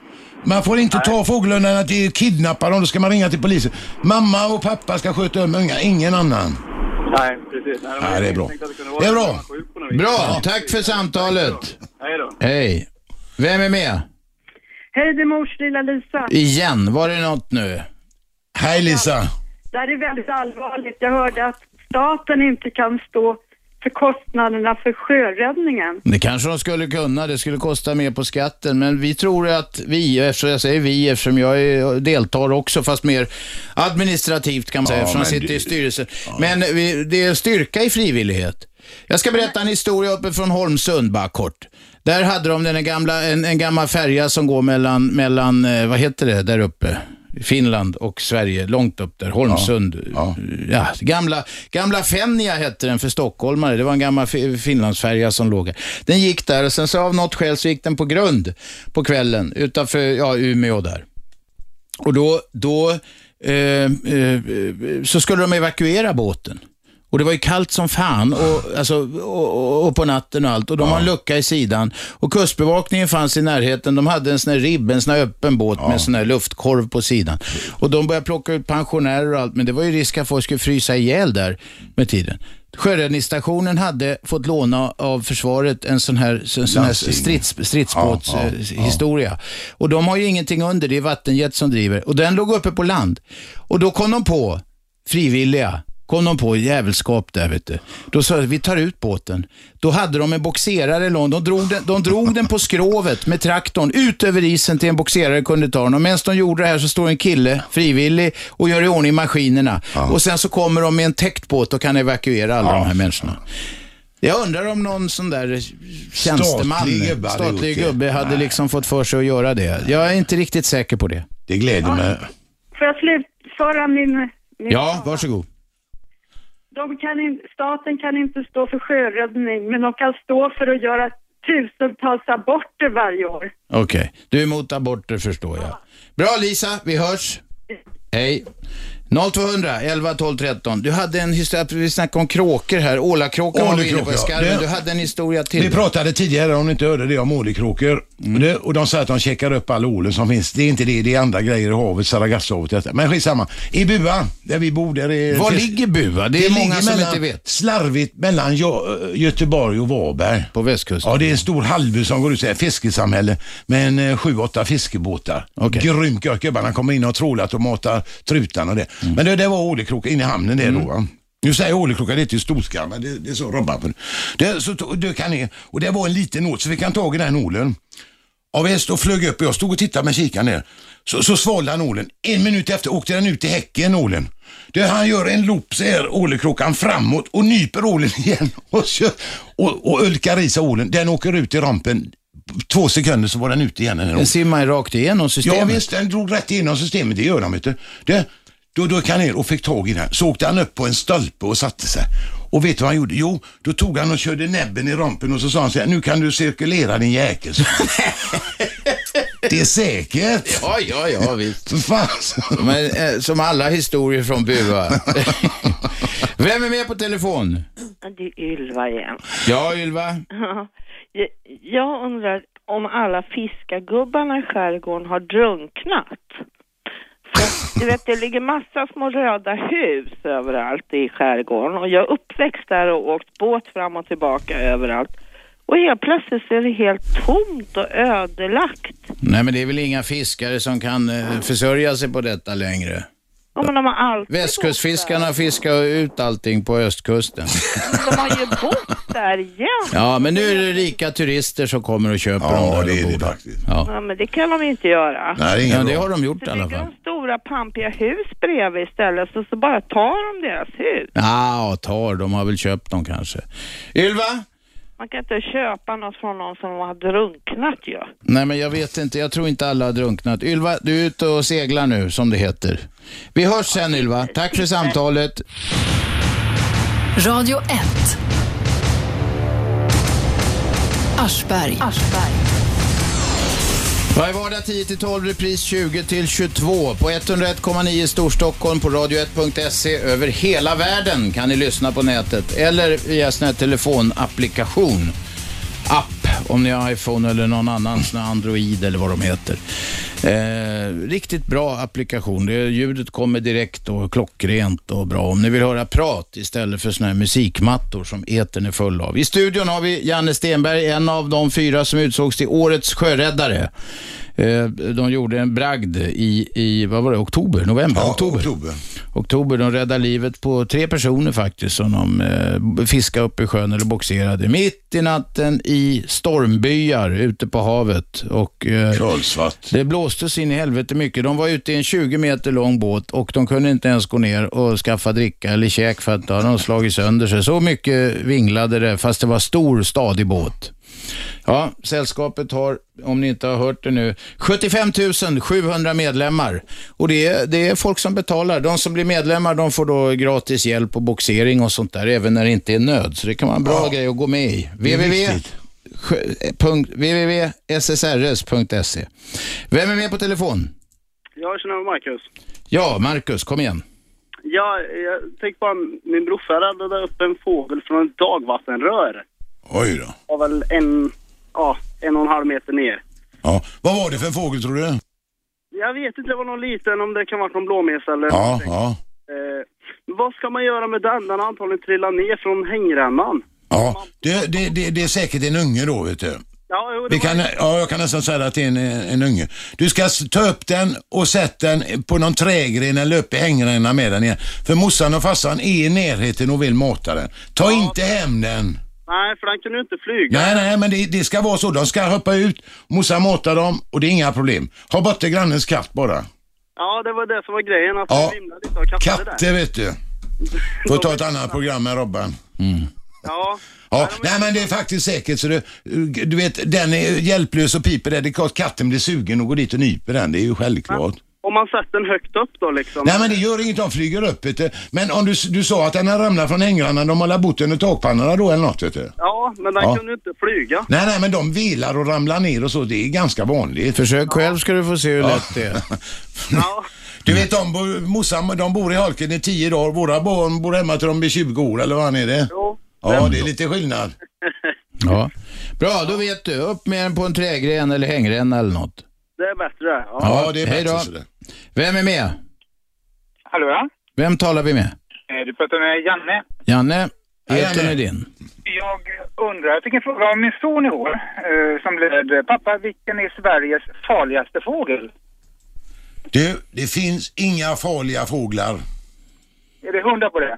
Man får inte ta fågelungarna till kidnappa dem, då ska man ringa till polisen. Mamma och pappa ska sköta om ungar, ingen annan.
Nej, precis. Nej,
Ja, det är bra.
Det är
bra.
Bra, tack för samtalet.
Hej då.
Hej. Vem är med?
Hej, det är mors lilla Lisa.
Igen, var det något nu?
Hej Lisa.
Det här är väldigt allvarligt. Jag hörde att staten inte kan stå för kostnaderna för sjöräddningen.
Det kanske de skulle kunna, det skulle kosta mer på skatten, men vi tror att vi, och eftersom jag säger vi, eftersom jag är- deltar också, fast mer administrativt kan man säga,
Ja,
eftersom jag
men
sitter
du-
i styrelsen. Men vi, det är styrka i frivillighet. Jag ska berätta en historia uppe från Holmsund bara kort. Där hade de den gamla, en, en gammal färja som går mellan, mellan, eh, vad heter det, där uppe? Finland och Sverige, långt upp där, Holmsund.
eh,
Ja, gamla, gamla Fenja hette den för stockholmare. Det var en gammal fi- finlandsfärja som låg här. Den gick där och sen så av något skäl så gick den på grund på kvällen utanför ja, Umeå där. Och då, då eh, eh, så skulle de evakuera båten. Och det var ju kallt som fan och, alltså, och, och, och på natten och allt. Och de har en lucka i sidan. Och kustbevakningen fanns i närheten. De hade en sån här ribb, en sån här öppen båt med en sån här luftkorv på sidan. Och de började plocka ut pensionärer och allt. Men det var ju risk att folk skulle frysa ihjäl där med tiden. Sjöräddningsstationen hade fått låna av försvaret en sån här, sån sån här
Landsting.
strids, stridsbåts...
Ja, ja,
eh,
ja.
historia. Och de har ju ingenting under, det är vattenjet som driver. Och den låg uppe på land. Och då kom de på, frivilliga, kom de på jävelskap där vet du. Då sa de, vi tar ut båten. Då hade de en boxerare lång, de drog den, de drog den på skrovet med traktorn ut över isen till en boxerare kunde ta den. Och medan de gjorde det här så står en kille, frivillig, och gör i ordning maskinerna. Och sen så kommer de med en täckt båt och kan evakuera alla de här människorna. Jag undrar om någon sån där tjänsteman,
Statlig gubbe hade
statlig
gjort det.
gubbe hade
Nej.
liksom fått för sig att göra det. Jag är inte riktigt säker på det.
Det gläder mig.
Får jag slutföra min... min
Ja, varsågod.
de kan in, staten kan inte stå för sjöräddning, men de kan stå för att göra tusentals aborter varje år.
Okej, du är emot aborter förstår jag. Bra Lisa, vi hörs. Hej. 0200 11 12 13. Du hade en historia, vi snackade om kråkor här. Ålakråkan var du inne på i
Ålakråka, ja.
skarven.
Det-
Du hade en historia till. Mm.
Vi pratade tidigare, om ni inte hörde det, om ålekråkor. Och Det, och de säger att de checkar upp all ålen som finns. Det är inte det, det är andra grejer i havet, Sargassohavet. detta. Men skitsamma. I Bua, där vi bor, där är...
Var ligger Bua? Det är många
eh, ligger
som
mellan,
inte vet.
Slarvigt mellan Gö- Göteborg och Varberg.
På västkusten?
Ja, det är en stor halvö som går ut, så här, fiskesamhälle, med en eh, sju, åtta fiskebåtar.
Okej.
Grymt gött. Gubbarna kommer in och har trålat och matar trutan och det.
Mm.
Men det, det var ålekråka inne i hamnen där då. Va? Nu säger jag ålekråka, det är till storskall, men det, det är så Robban för. Det, så to- dök han ner och det var en liten ål, så vi kan tag i den ålen. Ja visst, och flög upp och jag stod och tittade med kikaren ner. Så, så svalde han ålen. En minut efter åkte den ut i häcken, ålen. Det han gör en loop så här, ålekråkan framåt och nyper ålen igen och, kör, och, och ölkar i sig ålen. Den åker ut i rampen. Två sekunder så var den ute igen. Den
Den simmar ju rakt igenom systemet.
Ja visst, den drog rätt igenom systemet, det gör de inte. Det, då dök han ner och fick tag i den. Så åkte han upp på en stolpe och satte sig. Och vet du vad han gjorde? Jo, då tog han och körde näbben i rampen och så sa han så här, nu kan du cirkulera din jäkel. det är säkert.
Ja, ja, ja, visst.
Fan.
Men, eh, som alla historier från Bua. Vem är med på telefon?
Det är Ylva igen.
Ja, Ylva.
Ja, Jag undrar om alla fiskargubbarna i skärgården har drunknat. För, du vet, det ligger massa små röda hus överallt i skärgården och jag är uppväxt där och åkt båt fram och tillbaka överallt. Och helt plötsligt så är det helt tomt och ödelagt.
Nej, men det är väl inga fiskare som kan eh, försörja sig på detta längre.
Ja, men de har allt.
Västkustfiskarna fiskar ut allting på östkusten.
De har ju bott där jämt.
Ja, men nu är det rika turister som kommer och köper dem där det är det
faktiskt.
Ja.
Ja, men det kan de ju inte göra.
ja, det har de gjort i alla fall.
stora pampiga hus bredvid istället så, så bara tar de deras hus.
Ja, tar. De har väl köpt dem kanske. Ylva?
Man kan inte köpa något från någon som har drunknat ju.
Nej, men jag vet inte. Jag tror inte alla har drunknat. Ylva, du är ute och seglar nu, som det heter. Vi hörs sen, Ylva. Tack för samtalet.
Radio 1. Aschberg.
Varje vardag 10-12, repris 20-22 på 101,9 Storstockholm på radio1.se. Över hela världen kan ni lyssna på nätet eller via sån här telefonapplikation. App, om ni har iPhone eller någon annan sån här Android eller vad de heter. Eh, riktigt bra applikation. Det, ljudet kommer direkt och klockrent och bra. Om ni vill höra prat istället för såna här musikmattor som etern är full av. I studion har vi Janne Stenberg, en av de fyra som utsågs till Årets sjöräddare. Eh, De gjorde en bragd i, i vad var det, oktober? November? oktober.
oktober.
Oktober. De räddade livet på tre personer faktiskt som de eh, fiskade upp i sjön eller boxerade. Mitt i natten i stormbyar ute på havet. Och, eh, Det blåste så in i helvete mycket. De var ute i en 20 meter lång båt och de kunde inte ens gå ner och skaffa dricka eller käk för att då hade de slagit sönder sig. Så mycket vinglade det, fast det var stor, stadig båt. Ja, sällskapet har, om ni inte har hört det nu, 75 700 medlemmar. Och det är, det är folk som betalar. De som blir medlemmar de får då gratis hjälp och boxering och sånt där, även när det inte är nöd. Så det kan vara en bra grej att gå med i.
Det är
www.
viktigt.
punkt- www.ssrs.se E. Vem är med på telefon?
Jag känner mig Marcus.
Ja, Marcus, kom igen.
Ja, jag tänkte bara, min brorsa räddade upp en fågel från ett dagvattenrör.
Oj då.
Det var väl en, ja, en och en halv meter ner.
Ja. Vad var det för en fågel tror du?
Jag vet inte, det var någon liten, om det kan vara någon blåmes eller
Ja, ja.
eh, Vad ska man göra med den? Den har antagligen trillat ner från hängrännan.
ja. Det, det, det, det är säkert en unge då, vet du.
Ja, jo, det
Vi kan, ja, jag kan nästan säga att det är en, en unge. Du ska s- ta upp den och sätta den på någon trägren eller upp i hängrännan med den igen. För morsan och farsan är i närheten och vill mata den. Ta inte hem den.
Nej, för den kunde ju inte flyga.
Nej, nej, men det, det ska vara så. De ska hoppa ut, morsan matar dem och det är inga problem. Ha bort till grannens katt bara.
Ja, det var det som var grejen, att
Ja.
den vimlade lite av katter där.
Katter vet du. Får ta ett annat program med Robban. Mm.
Ja.
Ja, nej men det är faktiskt säkert så du, du vet, den är hjälplös och piper där. Det är klart katten blir sugen och går dit och nyper den. Det är ju självklart.
Om man sätter den högt upp då liksom.
Nej men det gör inget, de flyger upp vet du. Men om du, du sa att den har ramlat från hängrannan, de har la bott under takpannorna då eller något vet du?
Ja, men den
Ja.
kunde ju inte flyga.
Nej, nej, men de vilar och ramlar ner och så. Det är ganska vanligt.
Försök själv ska du få se hur lätt det är.
Du vet, de, bo- morsan, de bor i Holken i tio dagar. Våra barn bor hemma till de blir 20 år, eller vad fan är det? Ja, det är lite skillnad.
Ja. Bra, då vet du. Upp med den på en trägren eller hängränna eller något.
Det är bättre. Ja,
Hej då. Vem är med?
Hallå ja?
Vem talar vi med?
Eh, Du pratar med Janne.
Janne, etern är din.
Jag undrar, jag fick en fråga av min son igår eh, som löd Pappa, vilken är Sveriges farligaste fågel?
Du, det finns inga farliga fåglar.
Är det hundra på det?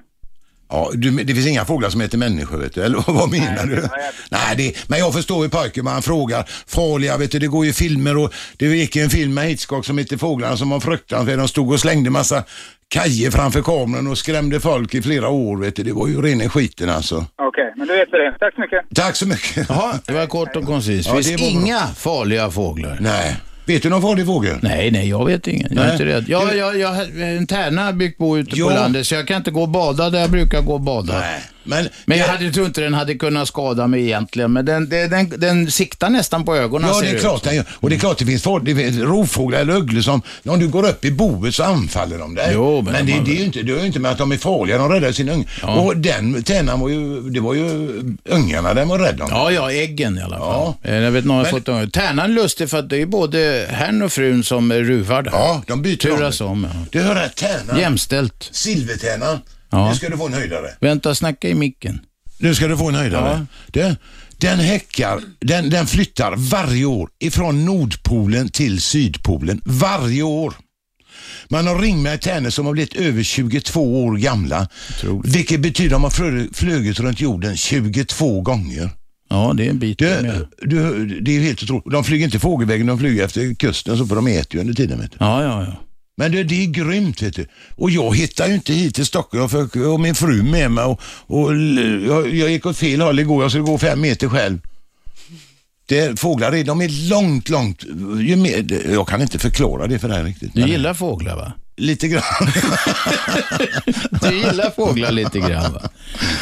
Ja, du, det finns inga fåglar som heter människor, vet du. Eller vad menar du? Nej, det, men jag förstår ju pojken, man frågar. Farliga, vet du, det går ju filmer och det gick ju en film med Hitchcock som heter Fåglarna som var fruktansvärd. De stod och slängde massa kajer framför kameran och skrämde folk i flera år, vet du. Det var ju rena skiten alltså.
Okej, men då vet vi det. Tack så mycket.
Tack så mycket.
Jaha, det var kort och koncist.
Ja,
finns
det var
inga farliga fåglar.
Nej. Vet du någon farlig fågel?
Nej, nej, jag vet ingen. Jag är
Nej.
inte rädd. Jag, jag, jag, har en tärna har byggt bo ute
Ja.
på landet, så jag kan inte gå och bada där jag brukar gå och bada.
men
jag hade, tror inte den hade kunnat skada mig egentligen, men den, den, den, den siktar nästan på ögonen.
Ja,
ser
det är
ut.
klart den gör. Och det är klart det finns, folk- det finns rovfåglar eller ugglor som, om du går upp i boet så anfaller de dig.
Jo, men
men
de
det,
har-
det är ju inte, det är ju inte med att de är farliga, de räddar sin unge. Och den tärnan var ju, det var ju ungarna den var rädd om.
Ja, ja, äggen i alla fall. Eh, Jag vet någon har fått ungar. Tärnan är lustig för att det är både herrn och frun som eh, ruvar där.
Ja, de byter
Turas om. Ja.
Du hör här, tärnan.
Jämställt.
Silvertärnan.
Ja.
Nu ska du få en höjdare.
Vänta, snacka i micken.
Nu ska du få en höjdare. Du, den häckar, den, den flyttar varje år ifrån Nordpolen till Sydpolen. Varje år. Man har ringmärkt tärnor som har blivit över 22 år gamla. Vilket betyder att de har flö- flugit runt jorden 22 gånger.
Ja, det är en bit.
Du, du, det är ju helt otroligt. De flyger inte fågelvägen, de flyger efter kusten så för de äter ju under tiden. Vet du.
Ja, ja, ja.
Men det, det är grymt vet du. Och jag hittar ju inte hit till Stockholm för, och min fru med mig och, och l- jag, jag gick åt fel håll igår. Jag skulle gå fem meter själv. Det är, fåglar är, de är långt, långt. Ju mer, jag kan inte förklara det för dig riktigt.
Du gillar fåglar va?
Lite grann.
Du gillar fåglar lite grann va?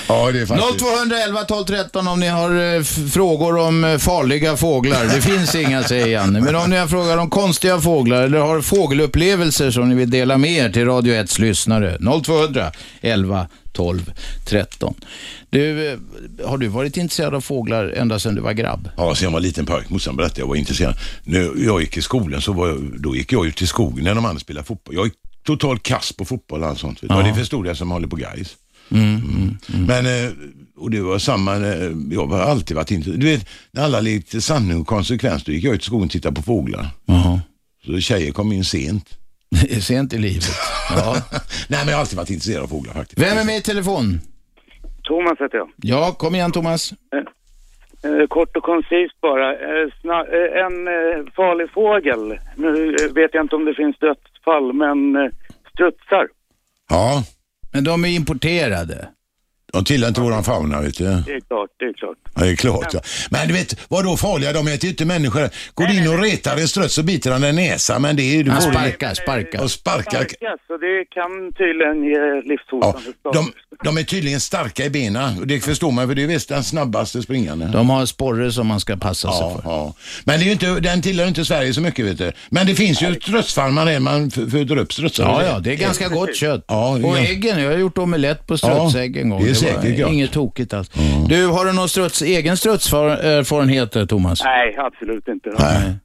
Ja, det är faktiskt.
0211 12 13 om ni har eh, f- frågor om eh, farliga fåglar. Det finns inga säger Janne. Men om ni har frågor om konstiga fåglar eller har fågelupplevelser som ni vill dela med er till Radio 1s lyssnare. 0200 11 12 13. Du, eh, har du varit intresserad av fåglar ända sedan du var grabb?
Ja, sen jag var liten pojk, morsan berättade jag var intresserad. När jag gick i skolan så var jag, då gick jag ut i skogen när de andra spelade fotboll. Jag gick total kass på fotboll och allt sånt. Det var
Ja.
det förstod jag som håller på guys.
Mm, mm, mm.
Men, eh, och det var samma, eh, jag har alltid varit intresserad. Du vet, när alla lekte sanning och konsekvens, då gick jag ut i skogen och tittade på fåglar.
Jaha.
Så tjejer kom in sent.
sent i livet. Ja.
Nej, men jag har alltid varit intresserad av fåglar faktiskt.
Vem är med i telefon?
Thomas heter jag.
Ja, kom igen Thomas.
Eh, kort och koncist bara. Eh, sna- eh, en eh, farlig fågel. Nu eh, vet jag inte om det finns dödsfall, men eh, strutsar.
Ja,
Men de är importerade.
de tillhör inte våran fauna vet du.
Det är klart, det är klart.
Ja, det är klart. Ja. Men du vet, vad då farliga? De äter ju inte människor. Går du in och retar en struts så biter han den i näsan, men det är ju... du
Han
får-
sparkar, sparkar.
Och sparkar.
Ja, så det kan tydligen ge livshotande skador.
De, de är tydligen starka i benen och det förstår man för det är visst den snabbaste springande.
De har sporre som man ska passa sig
Ja, ja. Men det är ju inte, den tillhör inte Sverige så mycket vet du. Men det finns ju strutsfarmar där man f- föder upp strutsar.
Ja, ja, det är ganska gott kött.
Ja, det är
och
ganska-
äggen, jag har gjort omelett på strutsägg
Ja,
en gång.
det är
var
säkert gott.
Inget tokigt alls. Du, har du någon struts, egen strutserfarenhet där, Thomas?
Nej, absolut inte.
Nej.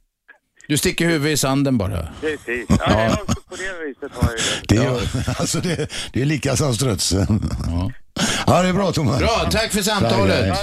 Du sticker huvudet i sanden bara.
Precis. Ja, ja. På det viset har jag ju det.
Det är, alltså det, det är lika som strutsen. Ja. det är bra Thomas.
Bra, tack för samtalet.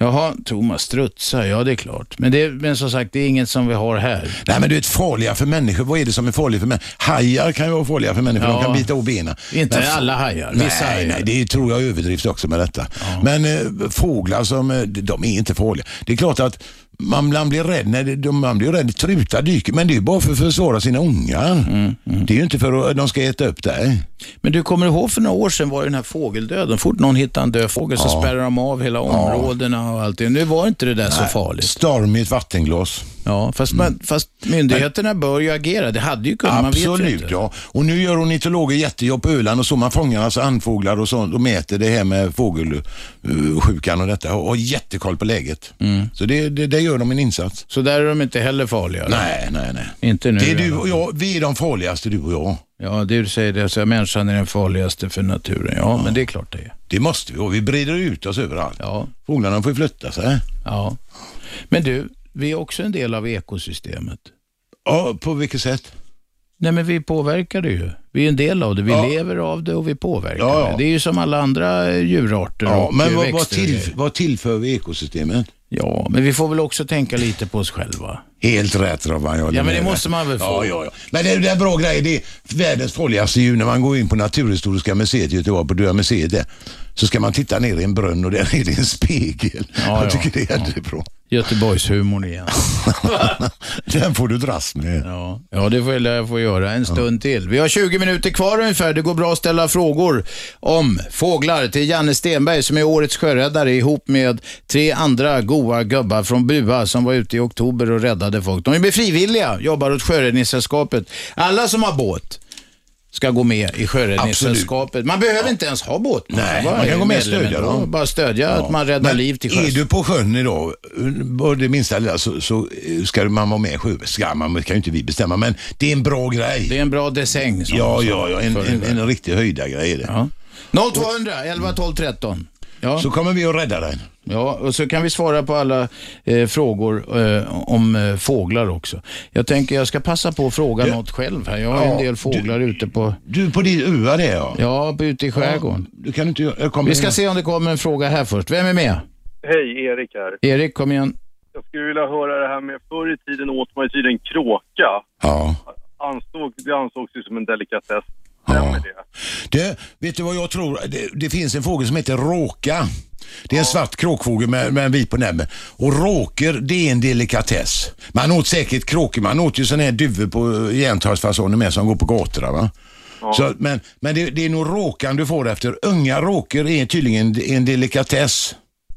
Jaha, Thomas strutsar, ja det är klart. Men, det, men som sagt, det är inget som vi har här.
Nej men du vet farliga för människor, vad är det som är farligt för människor? Hajar kan ju vara farliga för människor,
Ja.
de kan bita av benen.
Inte
Men-
alla hajar,
Nej,
vissa hajar.
nej, det tror jag är överdrift också med detta. Men eh, fåglar som, eh, de är inte farliga. Det är klart att man, man blir rädd när det, de- man blir rädd, trutar dyker, men det är ju bara för att försvara sina ungar. Det är ju inte för att de ska äta upp dig.
Mm, Men du kommer ihåg för några år sedan var ju den här fågeldöden. Fort någon hittade en död fågel så
Ja.
spärrar de av hela områdena och allt det. Nu var inte det där så farligt.
Stormigt vattenglas. Mm.
Ja, fast, man, fast myndigheterna bör ju agera. Det hade ju kunnat, man vet ju
Absolut,
inte.
ja. Och nu gör ornitologer jättejobb på Öland och så. Man fångar alltså andfåglar och så. De mäter det här med fågelsjukan och detta och har jättekoll på läget. Så det, det, där gör de en insats.
Så där är de inte Mm. heller farliga?
Nej, nej, nej.
Inte nu
Det är
i
du
alla
och jag, vi är de farligaste du och jag.
Ja, du säger det. Så människan är den farligaste för naturen. Ja, men det är klart det är.
Det måste vi och vi breder ut oss överallt. Fåglarna får ju flytta sig.
Ja. Men du, vi är också en del av ekosystemet.
Ja, på vilket sätt?
Nej, men vi påverkar det ju. Vi är en del av det. Vi
Ja.
lever av det och vi påverkar
Ja, ja.
det. Det är ju som alla andra eh, djurarter
Ja,
och
men
eh,
vad, vad,
växter och
till,
grejer.
vad tillför vi ekosystemet?
Ja, men vi får väl också tänka lite på oss själva.
Helt rätt Robban. jag håller
Ja, men det
med dig.
måste man väl få.
Ja, ja, ja. Men det, det är bra grejer. Det är världens farligaste djur. När man går in på Naturhistoriska museet i Göteborg, på Döda museet där, så ska man titta ner i en brunn och där är det en spegel.
Ja,
jag
ja,
tycker det är jättebra.
Göteborgshumorn igen.
Den får du dras med.
Ja, ja det får jag- jag får göra en stund till. Vi har 20 minuter kvar ungefär. Det går bra att ställa frågor om fåglar till Janne Stenberg som är årets sjöräddare ihop med tre andra goa gubbar från Bua som var ute i oktober och räddade folk. De är frivilliga, jobbar åt Sjöräddningssällskapet. Alla som har båt ska gå med i Sjöräddningssällskapet. Man behöver inte ens ha båt.
Nej,
Bara
man kan gå
är
med och
medlem
stödja
ändå.
dem.
Bara stödja att man räddar
Men
liv till sjöss.
Är du på sjön idag, bara det minsta lilla, så, så eh, ska man vara med i sjö. Ska man, det kan ju inte vi bestämma, men det är en bra grej.
Det är en bra dessäng. som
Ja,
de
ja,
sa
ja, en,
förr i
en,
världen.
en riktig höjdargrej är det.
0200 11 12 13. Ja.
Så kommer vi att rädda den.
Ja, och så kan vi svara på alla eh, frågor eh, om eh, fåglar också. Jag tänker jag ska passa på att fråga
Du-
något själv här. Jag har ju en
Ja,
del fåglar ute på...
Du på din ua det ja.
Ja, på- ute i skärgården.
du kan inte, jag kommer
vi ska
in.
se om det kommer en fråga här först. Vem är med?
Hej, Erik här.
Erik, kom igen.
Jag skulle vilja höra det här med förr i tiden åt man ju tydligen kråka.
Ja.
Ansåg, det ansågs ju som en delikatess.
Du, vet du vad jag tror? Det, det finns en fågel som heter råka. Det är en svart kråkfågel med, med en vit på näbben. Och råker, det är en delikatess. Man åt säkert kråkor, man åt ju sådana här duvor på eh, järntorgsfasoner med som går på gatorna. Va? Så, men men det, det är nog råkan du får efter. Unga råkor är tydligen en, en delikatess.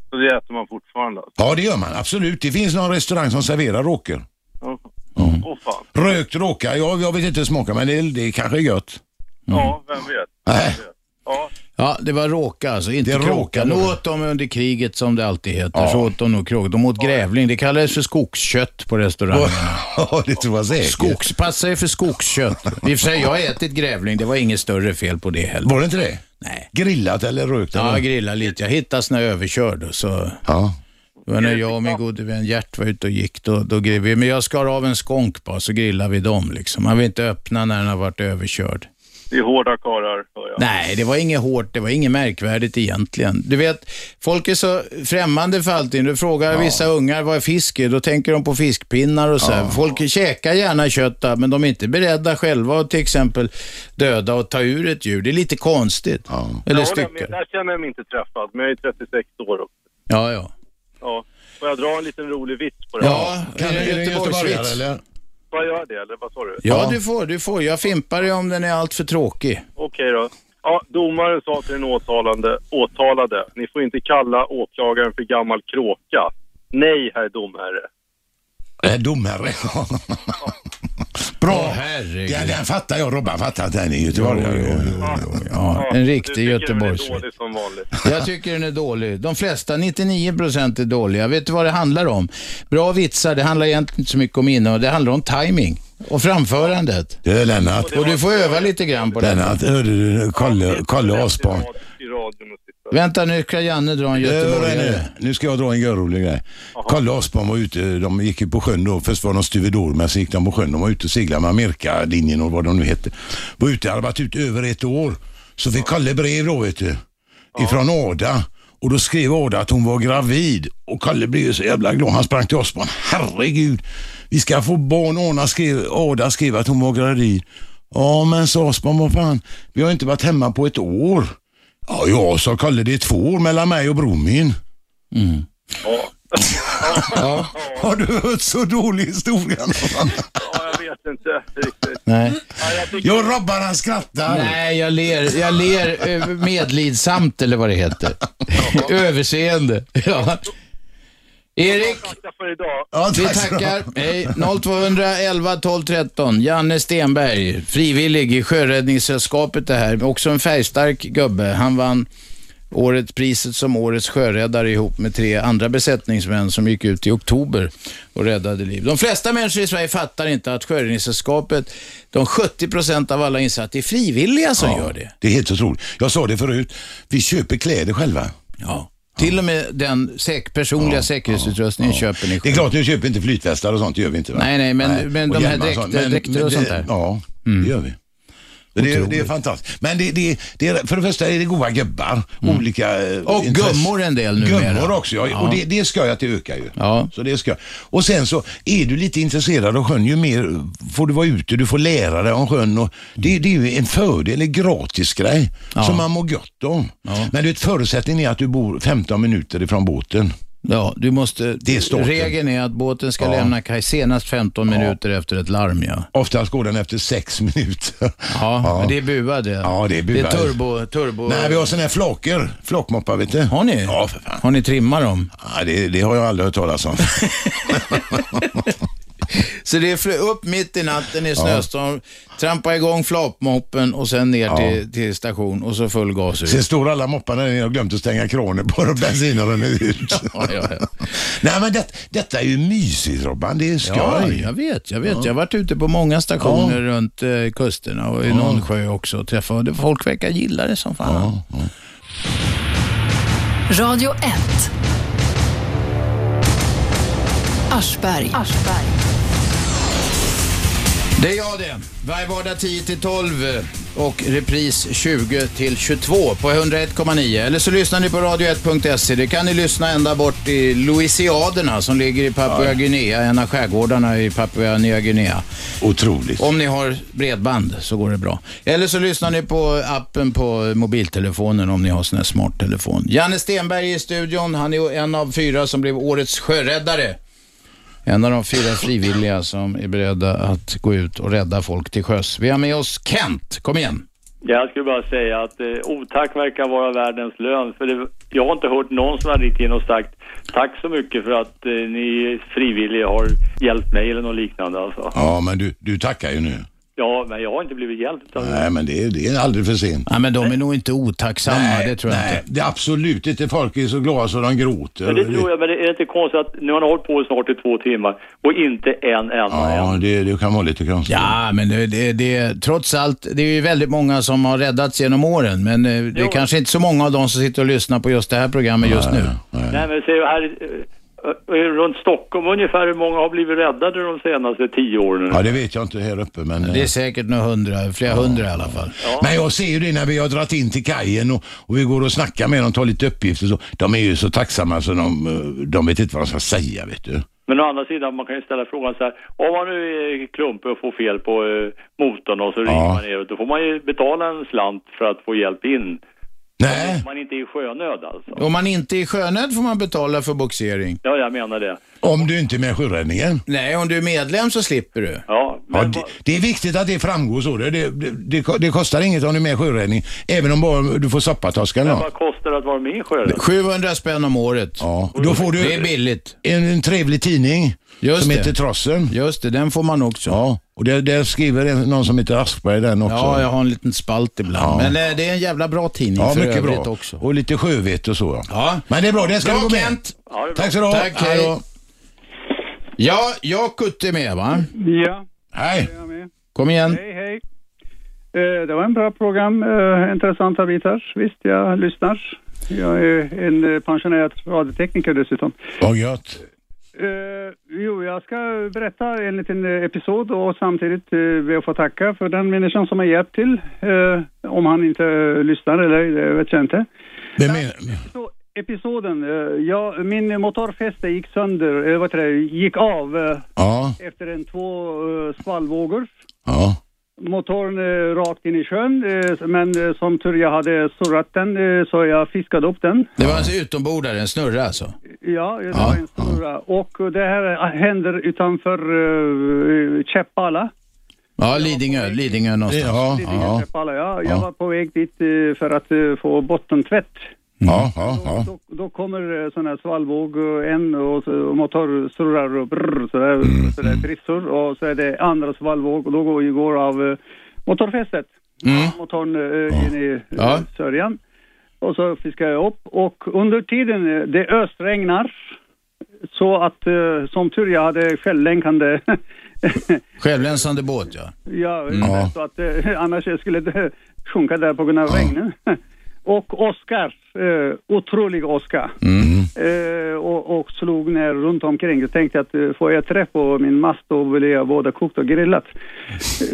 Så det äter man fortfarande. alltså.
Ja, det gör man absolut. Det finns någon restaurang som serverar råkor.
Åh fan.
Rökt råka, ja, jag vet inte hur det smakar men det, det kanske är gött.
Mm.
Ja, vem vet.
Nej.
Ja, det var råka alltså, inte
Det är
kråka.
råka,
Nu
det var-
åt de under kriget som det alltid heter, så åt de nog kråka. De åt grävling, det kallades för skogskött på restaurangerna.
Ja, det tror jag säkert.
Skogs, passar ju för skogskött. I och för sig, jag har ätit grävling, det var inget större fel på det heller.
Var det inte det?
Nej.
Grillat eller rökt?
Ja,
eller?
jag grillade lite. Jag hittades när jag överkörde. Så...
Ja.
Det var när jag och min gode vän Gert var ute och gick, då, då grillade vi. Men jag skar av en skånk bara, så grillade vi dem. Liksom. Man vill inte öppna när den har varit överkörd.
Det är hårda karlar, hör jag.
Nej, det var inget hårt, det var inget märkvärdigt egentligen. Du vet, folk är så främmande för allting. Du frågar vissa ungar vad fisk är, då tänker de på fiskpinnar och så här. Folk käkar gärna kött, men de är inte beredda själva att till exempel döda och ta ur ett djur. Det är lite konstigt. Eller
jag håller
stycke.
med. Där känner jag mig inte träffad, men jag är 36 år också.
Ja, ja.
Ja. Får jag dra en liten rolig vits på det?
Ja, kan
är det en göteborgare eller?
Får jag göra det, eller vad sa du?
Ja, du får, du får. Jag fimpar dig om den är allt för tråkig.
Okej då. Ja, domaren sa till den åtalande, åtalade, ni får inte kalla åklagaren för gammal kråka. Nej, herr domherre.
Äh, domare. Bra.
herregud.
Den, den fattar jag. Robban fattar att den är göteborgare.
Ja, en riktig
Det
Göteborgs.
är dåligt som vanligt.
Jag tycker den är dålig. De flesta, 99% är dåliga. Vet du vad det handlar om? Bra vitsar, det handlar egentligen inte så mycket om innehåll. Det handlar om timing och framförandet.
Du Lennart.
Och du får öva lite grann på det.
Lennart, hörde du Kalle, Kalle Asbjörn?
Vänta nu ska Janne dra en göteborgare.
nu. nu ska jag dra en görrolig grej. Kalle Asbjörn var ute, de gick ju på sjön då. Först var de stuvedor, men sen gick de på sjön. De var ute och seglade med Amerikalinjen och vad de nu hette. Var ute, hade varit ute över ett år. Så fick Kalle brev då, vet du. Ifrån Ada. Och då skrev Ada att hon var gravid. Och Kalle blev ju så jävla glad. Han sprang till Asbjörn. Herregud, vi ska få barn. Ona skrev, Ada skrev att hon var gravid. Ja, men sa Asbjörn, vad fan, vi har inte varit hemma på ett år. Ja, ja, sa Kalle, det är två år mellan mig och bror min.
Mm.
Ja. Har du hört så dålig historia någon annan?
Ja, jag vet inte riktigt.
Nej.
Jag robbar han skrattar.
Nej, jag ler, jag ler eh, medlidsamt eller vad det heter. Överseende. Ja. Erik,
Tackar för idag.
vi tackar. Hej. 0211 12 13. Janne Stenberg, frivillig i Sjöräddningssällskapet det här. Också en färgstark gubbe. Han vann årets priset som årets sjöräddare ihop med tre andra besättningsmän som gick ut i oktober och räddade liv. De flesta människor i Sverige fattar inte att Sjöräddningssällskapet, de 70 procent av alla insatser, är frivilliga som gör det.
Det är helt otroligt. Jag sa det förut, vi köper kläder själva.
Ja. Till och med Eh, den säk personliga säkerhetsutrustningen köper ni själv.
Det är klart, nu köper vi inte flytvästar och sånt, det gör vi inte va?
Nej, nej, men- men
Och
de här
hjälmar och sånt.
dräkter- dräkter och
det-
sånt där. Mm.
Ja, det gör vi. Så Det, är- det är fantastiskt. Men det, det, det är, för det första är det goa gubbar, olika eh,
Mm. Och gummor en del numera.
Gummor också, ja.
Ja.
Och det, det ska jag att det ökar ju.
Ja.
Så det ska. Och sen så är du lite intresserad av sjön, ju mer får du vara ute, du får lära dig om sjön. Och det, det är ju en fördel, en gratis grej
Ja.
som man mår gott om. Men du vet, förutsättningen är att du bor 15 minuter ifrån båten.
Ja, du måste...
Det är starten.
Regeln är att båten ska
Ja.
lämna kaj senast 15 minuter efter ett larm. Ja.
Oftast går den efter sex minuter.
Ja, men det är buad det.
Ja, det är buad.
Det är turbo... turbo...
Nej, vi har sådana här flocker. Flockmoppar, vet du. Har
ni?
Ja, för fan.
Har ni trimmat dem?
Ja, det, det har jag aldrig hört talas om.
Så det är fl- upp mitt i natten i snöstorm, trampa igång flapmoppen och sen ner
Ja.
till, till station och så full gas
Sen
ut.
står alla mopparna där nere och glömt att stänga kranen på och bensinen rann ut. Nej, men det, detta är ju mysigt Robban. Det är skoj.
Ja, jag vet, jag vet. Jag har varit ute på många stationer runt eh, kusterna och i någon sjö också och träffat folk verkar gilla det som fan.
Radio 1. Aschberg.
Det är jag det. Varje vardag 10 till 12 och repris 20 till 22 på 101,9. Eller så lyssnar ni på radio1.se. Det kan ni lyssna ända bort i Louisiaderna som ligger i Papua
Ja.
Guinea, en av skärgårdarna i Papua Nya Guinea.
Otroligt.
Om ni har bredband så går det bra. Eller så lyssnar ni på appen på mobiltelefonen om ni har sån här smarttelefon. Janne Stenberg är i studion. Han är en av fyra som blev årets sjöräddare. En av de fyra frivilliga som är beredda att gå ut och rädda folk till sjöss. Vi har med oss Kent. Kom igen.
Jag skulle bara säga att eh, otack verkar vara världens lön. För det, jag har inte hört någon som har ringt in och sagt tack så mycket för att eh, ni frivilliga har hjälpt mig eller något liknande alltså.
Ja, men du, du tackar ju nu.
Ja, men jag har inte blivit hjälpt. utan-
Nej, men det, är- det är aldrig för sent.
Nej, men de är nog inte otacksamma. det tror jag
nej, inte. Det är absolut inte. Folk är så glada så de gråter.
Men det tror jag, men det är inte konstigt att nu har han hållit på snart i två timmar och inte en enda än.
Ja, det, det kan vara lite konstigt.
Ja, men det, det, det, trots allt, det är ju väldigt många som har räddats genom åren, men eh, det är kanske inte så många av dem som sitter och lyssnar på just det här programmet just nu.
Nej, men se här, eh, eh, runt Stockholm ungefär hur många har blivit räddade de senaste tio åren?
Ja, det vet jag inte här uppe, men... eh,
Det är säkert några hundra, flera hundra i alla fall.
Men jag ser ju det när vi har dragit in till kajen och, och vi går och snackar med dem, tar lite uppgifter och så. De är ju så tacksamma så de, eh, de vet inte vad de ska säga, vet du.
Men å andra sidan, man kan ju ställa frågan så här, om man nu är klumpig och får fel på eh, motorn och så ringer man ner, då får man ju betala en slant för att få hjälp in.
Nej.
Om man inte är i sjönöd alltså.
Om man inte är i sjönöd får man betala för boxering.
Ja, jag menar det.
Om du inte är med i sjöräddningen.
Nej, om du är medlem så slipper du.
Ja,
Ja, det, det är viktigt att det framgår så. Det, det, det, det kostar inget om du är med i sjöräddning, även om bara du får soppatoskar.
Men
Ja.
vad kostar det att vara med i sjönöd?
700 spänn om året.
Ja, då får du
Det är billigt.
En, en trevlig tidning
Just
som
det.
heter Trossen.
Just det, den får man också.
Ja, och där, där skriver en, någon som heter Askberg den också.
Ja, jag har en liten spalt ibland. Men eh, det är en jävla bra tidning
Ja,
för
mycket bra.
övrigt också.
Och lite sjövett och så. Ja. Men det är bra, det ska
Bra,
du gå med.
Kent.
Tack så du ha.
Tack, hej.
Hej då.
Ja, Jakut är med va?
Ja.
Hej.
Jag är med.
Kom igen.
Hej, hej. Eh, Det var en bra program. eh, Intressanta bitar. Visst, jag lyssnar. Jag är en eh, pensionerad radiotekniker dessutom.
Vad gött.
Eh, jo, jag ska berätta en liten eh, episod och samtidigt eh, be att få tacka för den människan som har hjälpt till. Eh, om han inte eh, lyssnar eller ej, det vet jag inte.
Vem är
Så, episoden. Eh, jag, min motorfäste gick sönder, eh, vad heter det, gick av eh,
Ja.
efter en två eh, svallvågor.
Ja.
Motorn eh, rakt in i sjön, eh, men eh, som tur jag hade surrat den eh, så jag fiskade upp den.
Det var en utombordare, en snurra alltså.
Ja, det var en stora. Och det här händer utanför uh, Käppala.
Ja, Lidingö, Lidingö någonstans.
Lidingö, Käppala, ja. Jag var på väg dit eh, för att eh, få bottentvätt.
Ja, ja, ja.
Då kommer eh, sån här svallvåg och en och, så, och man tar surrar och brrr, sådär, sådär trissor och så är det andra svallvåg och då går, går av eh, motorfästet. Motorn eh, in i Mm. ja. sörjan. Och så fiskar jag upp och under tiden eh, det ösregnar så att eh, som tur jag hade självlänkande
Självlänsande båt, ja.
Ja,
Mm. Ja.
så att eh, annars jag skulle det sjunka där på grund av regnet. Och Oscar, eh, otrolig Oscar.
Mm.
Eh, och, och slog ner runt omkring. Jag tänkte att eh, får jag träff på min mast då blir jag både kokt och grillat.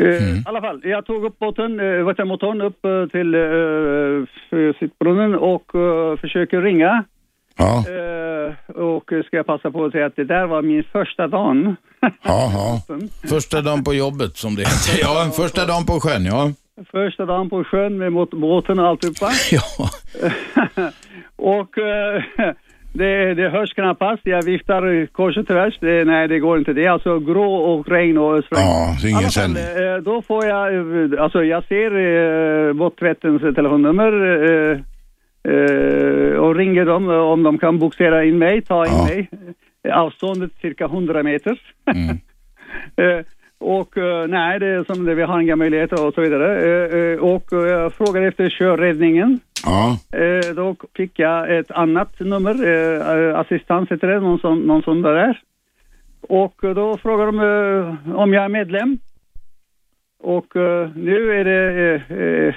Eh,
Mm.
I alla fall, jag tog upp båten, eh, vet jag, motorn upp eh, till eh, sittbrunnen och eh, försöker ringa. Eh, och eh, ska jag passa på att säga att det där var min första dag.
Ja, ja. Första dagen på jobbet som det heter. Ja, första dagen på sjön, ja.
Första dagen på sjön med mot båten och alltihopa.
Ja.
och eh, det, det hörs knappast. Jag viftar kors och tvärs. Det, nej, det går inte. Det är alltså grå och regn och ösregn. Ja,
det är ingen sändning.
Eh, då får jag, eh, alltså jag ser eh, båttvättens telefonnummer eh, eh, och ringer dem om de kan boxera in mig, ta in mig. Avståndet cirka 100 meter. Eh, och eh, nej, det är som det, vi har inga möjligheter och så vidare. Eh, eh, Och eh, jag frågade efter körräddningen.
Ja.
Eh, Då fick jag ett annat nummer, eh, eh, assistans heter det, någon sån, någon sån där. är. Och eh, då frågade de eh, om jag är medlem. Och eh, nu är det eh, eh,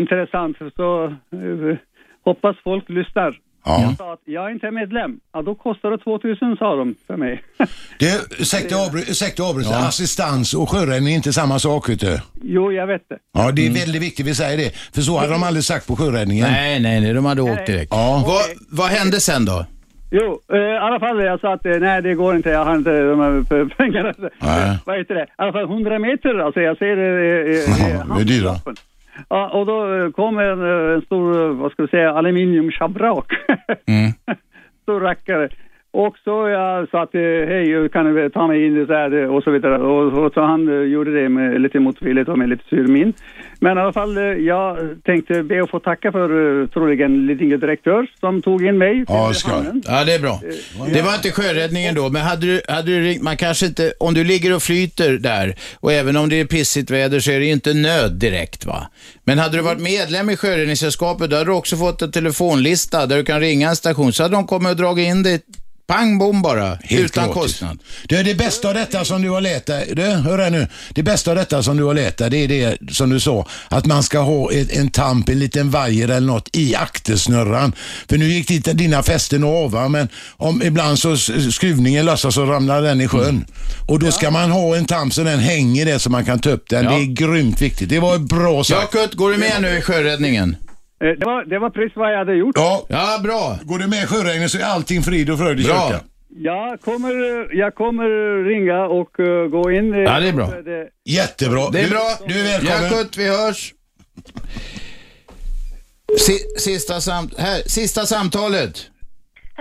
intressant, för så eh, hoppas folk lyssnar. Jag sa att jag är inte medlem. Ja, då kostar det 2000 sa de för mig.
Det, ursäkta jag avbry- ursäkta jag avbryter,
Ja.
assistans och sjöräddning är inte samma sak vet du.
Jo, jag vet det.
Ja, det är väldigt viktigt vi säger det. För så hade de aldrig sagt på sjöräddningen.
Mm. Nej, nej, nej. De hade åkt direkt.
Ja.
Vad, vad hände sen då?
Jo, eh, i alla fall jag sa att eh, nej det går inte, jag har inte de här p- pengarna.
Nej.
Vad heter det? I alla fall 100 meter alltså, jag ser eh, eh, eh,
Det är dyra.
Ja, och då eh, kom en, eh, en stor, eh, vad ska vi säga, aluminiumschabrak.
Mm.
stor rackare. Och så jag sa att eh, hej, kan du ta mig in så här eh, och så vidare. Och, och så han eh, gjorde det med lite motvilligt och med lite sur min. Men i alla fall, eh, jag tänkte be att få tacka för eh, troligen Lidingö direktör som tog in mig.
Ja, Ja, det är bra. Det var inte sjöräddningen då, men hade du, hade du ringt, man kanske inte, om du ligger och flyter där och även om det är pissigt väder så är det ju inte nöd direkt va. Men hade du varit medlem i Sjöräddningssällskapet då hade du också fått en telefonlista där du kan ringa en station så hade de kommit och dragit in dig, pang bom bara, utan
gratis.
kostnad.
Det, det bästa av detta som du har letat, du, hör här nu. Det bästa av detta som du har letat, det är det som du sa, att man ska ha ett, en tamp, en liten vajer eller något i aktersnurran. För nu gick dit, dina fästen av, va? men om ibland så s- skruvningen lossas så ramlar den i sjön.
Mm.
Och då ska man ha en tamp så den hänger där så man kan ta upp den. Det är grymt viktigt. Det var bra sagt.
Jakob, går du med nu i sjöräddningen?
Eh, Det var, det var precis vad jag hade gjort.
Ja.
ja, bra.
Går du med i sjöräddningen så är allting frid och fröjd i
Bra.
kyrkan.
Jag kommer, eh, jag kommer ringa och eh, gå in. eh,
Ja, det är bra.
för det-
Jättebra.
Det är
Du-
bra.
Du är välkommen.
Jakob, vi hörs. Si- Sista, sam här, sista samtalet.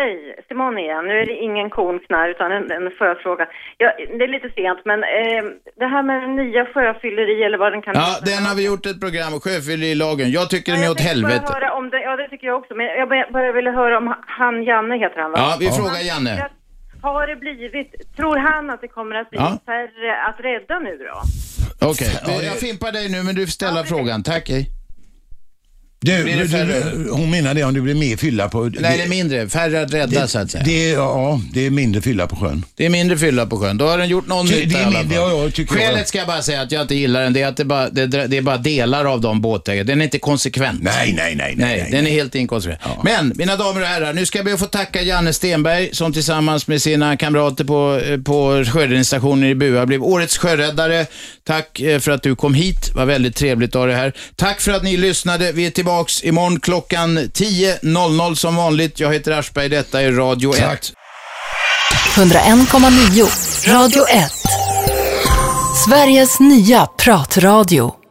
Hej, Simone igen. Nu är det ingen kornknarr här utan en, en sjöfråga. Ja, det är lite sent men eh, det här med den nya sjöfylleri eller vad den kan
Ja, den har vi gjort ett program om, sjöfyllerilagen. Jag tycker den är åt
Jag
helvete.
höra om det, ja det tycker jag också, men jag bara- bara ville höra om han, Janne heter han va?
Ja, vi
Om
frågar
han
Janne.
tycker att- Har det blivit, tror han att det kommer att bli
Ja.
färre att rädda nu då?
Okej, jag fimpar dig nu men du ställer frågan. Tack, hej.
Du,
Blir det
du,
färre?
du, hon menar det om det blir mer fylla på...
Nej, det är mindre. Färre att rädda
det,
så att säga.
Det är, ja, det är mindre fylla på sjön.
Det är mindre fylla på sjön. Då har den gjort någon
Ty- det
nytta
är
i alla
min-
fall.
det har jag- tycker jag.
Skälet ska jag bara säga att jag inte gillar den, det är att det bara, det, det är bara delar av de båtägarna. Den är inte konsekvent.
Nej, nej, nej.
nej, den är helt inkonsekvent. Men, mina damer och herrar, nu ska jag be att få tacka Janne Stenberg som tillsammans med sina kamrater på, eh, på sjöräddningsstationen i Bua blev årets sjöräddare. Tack eh, för att du kom hit. Det var väldigt trevligt att ha dig här. Tack för att ni lyssnade. Vi är tillbaks imorgon klockan 10.00 som vanligt. Jag heter Aschberg, detta är Radio 1.
101,9. Radio 1. Sveriges nya pratradio.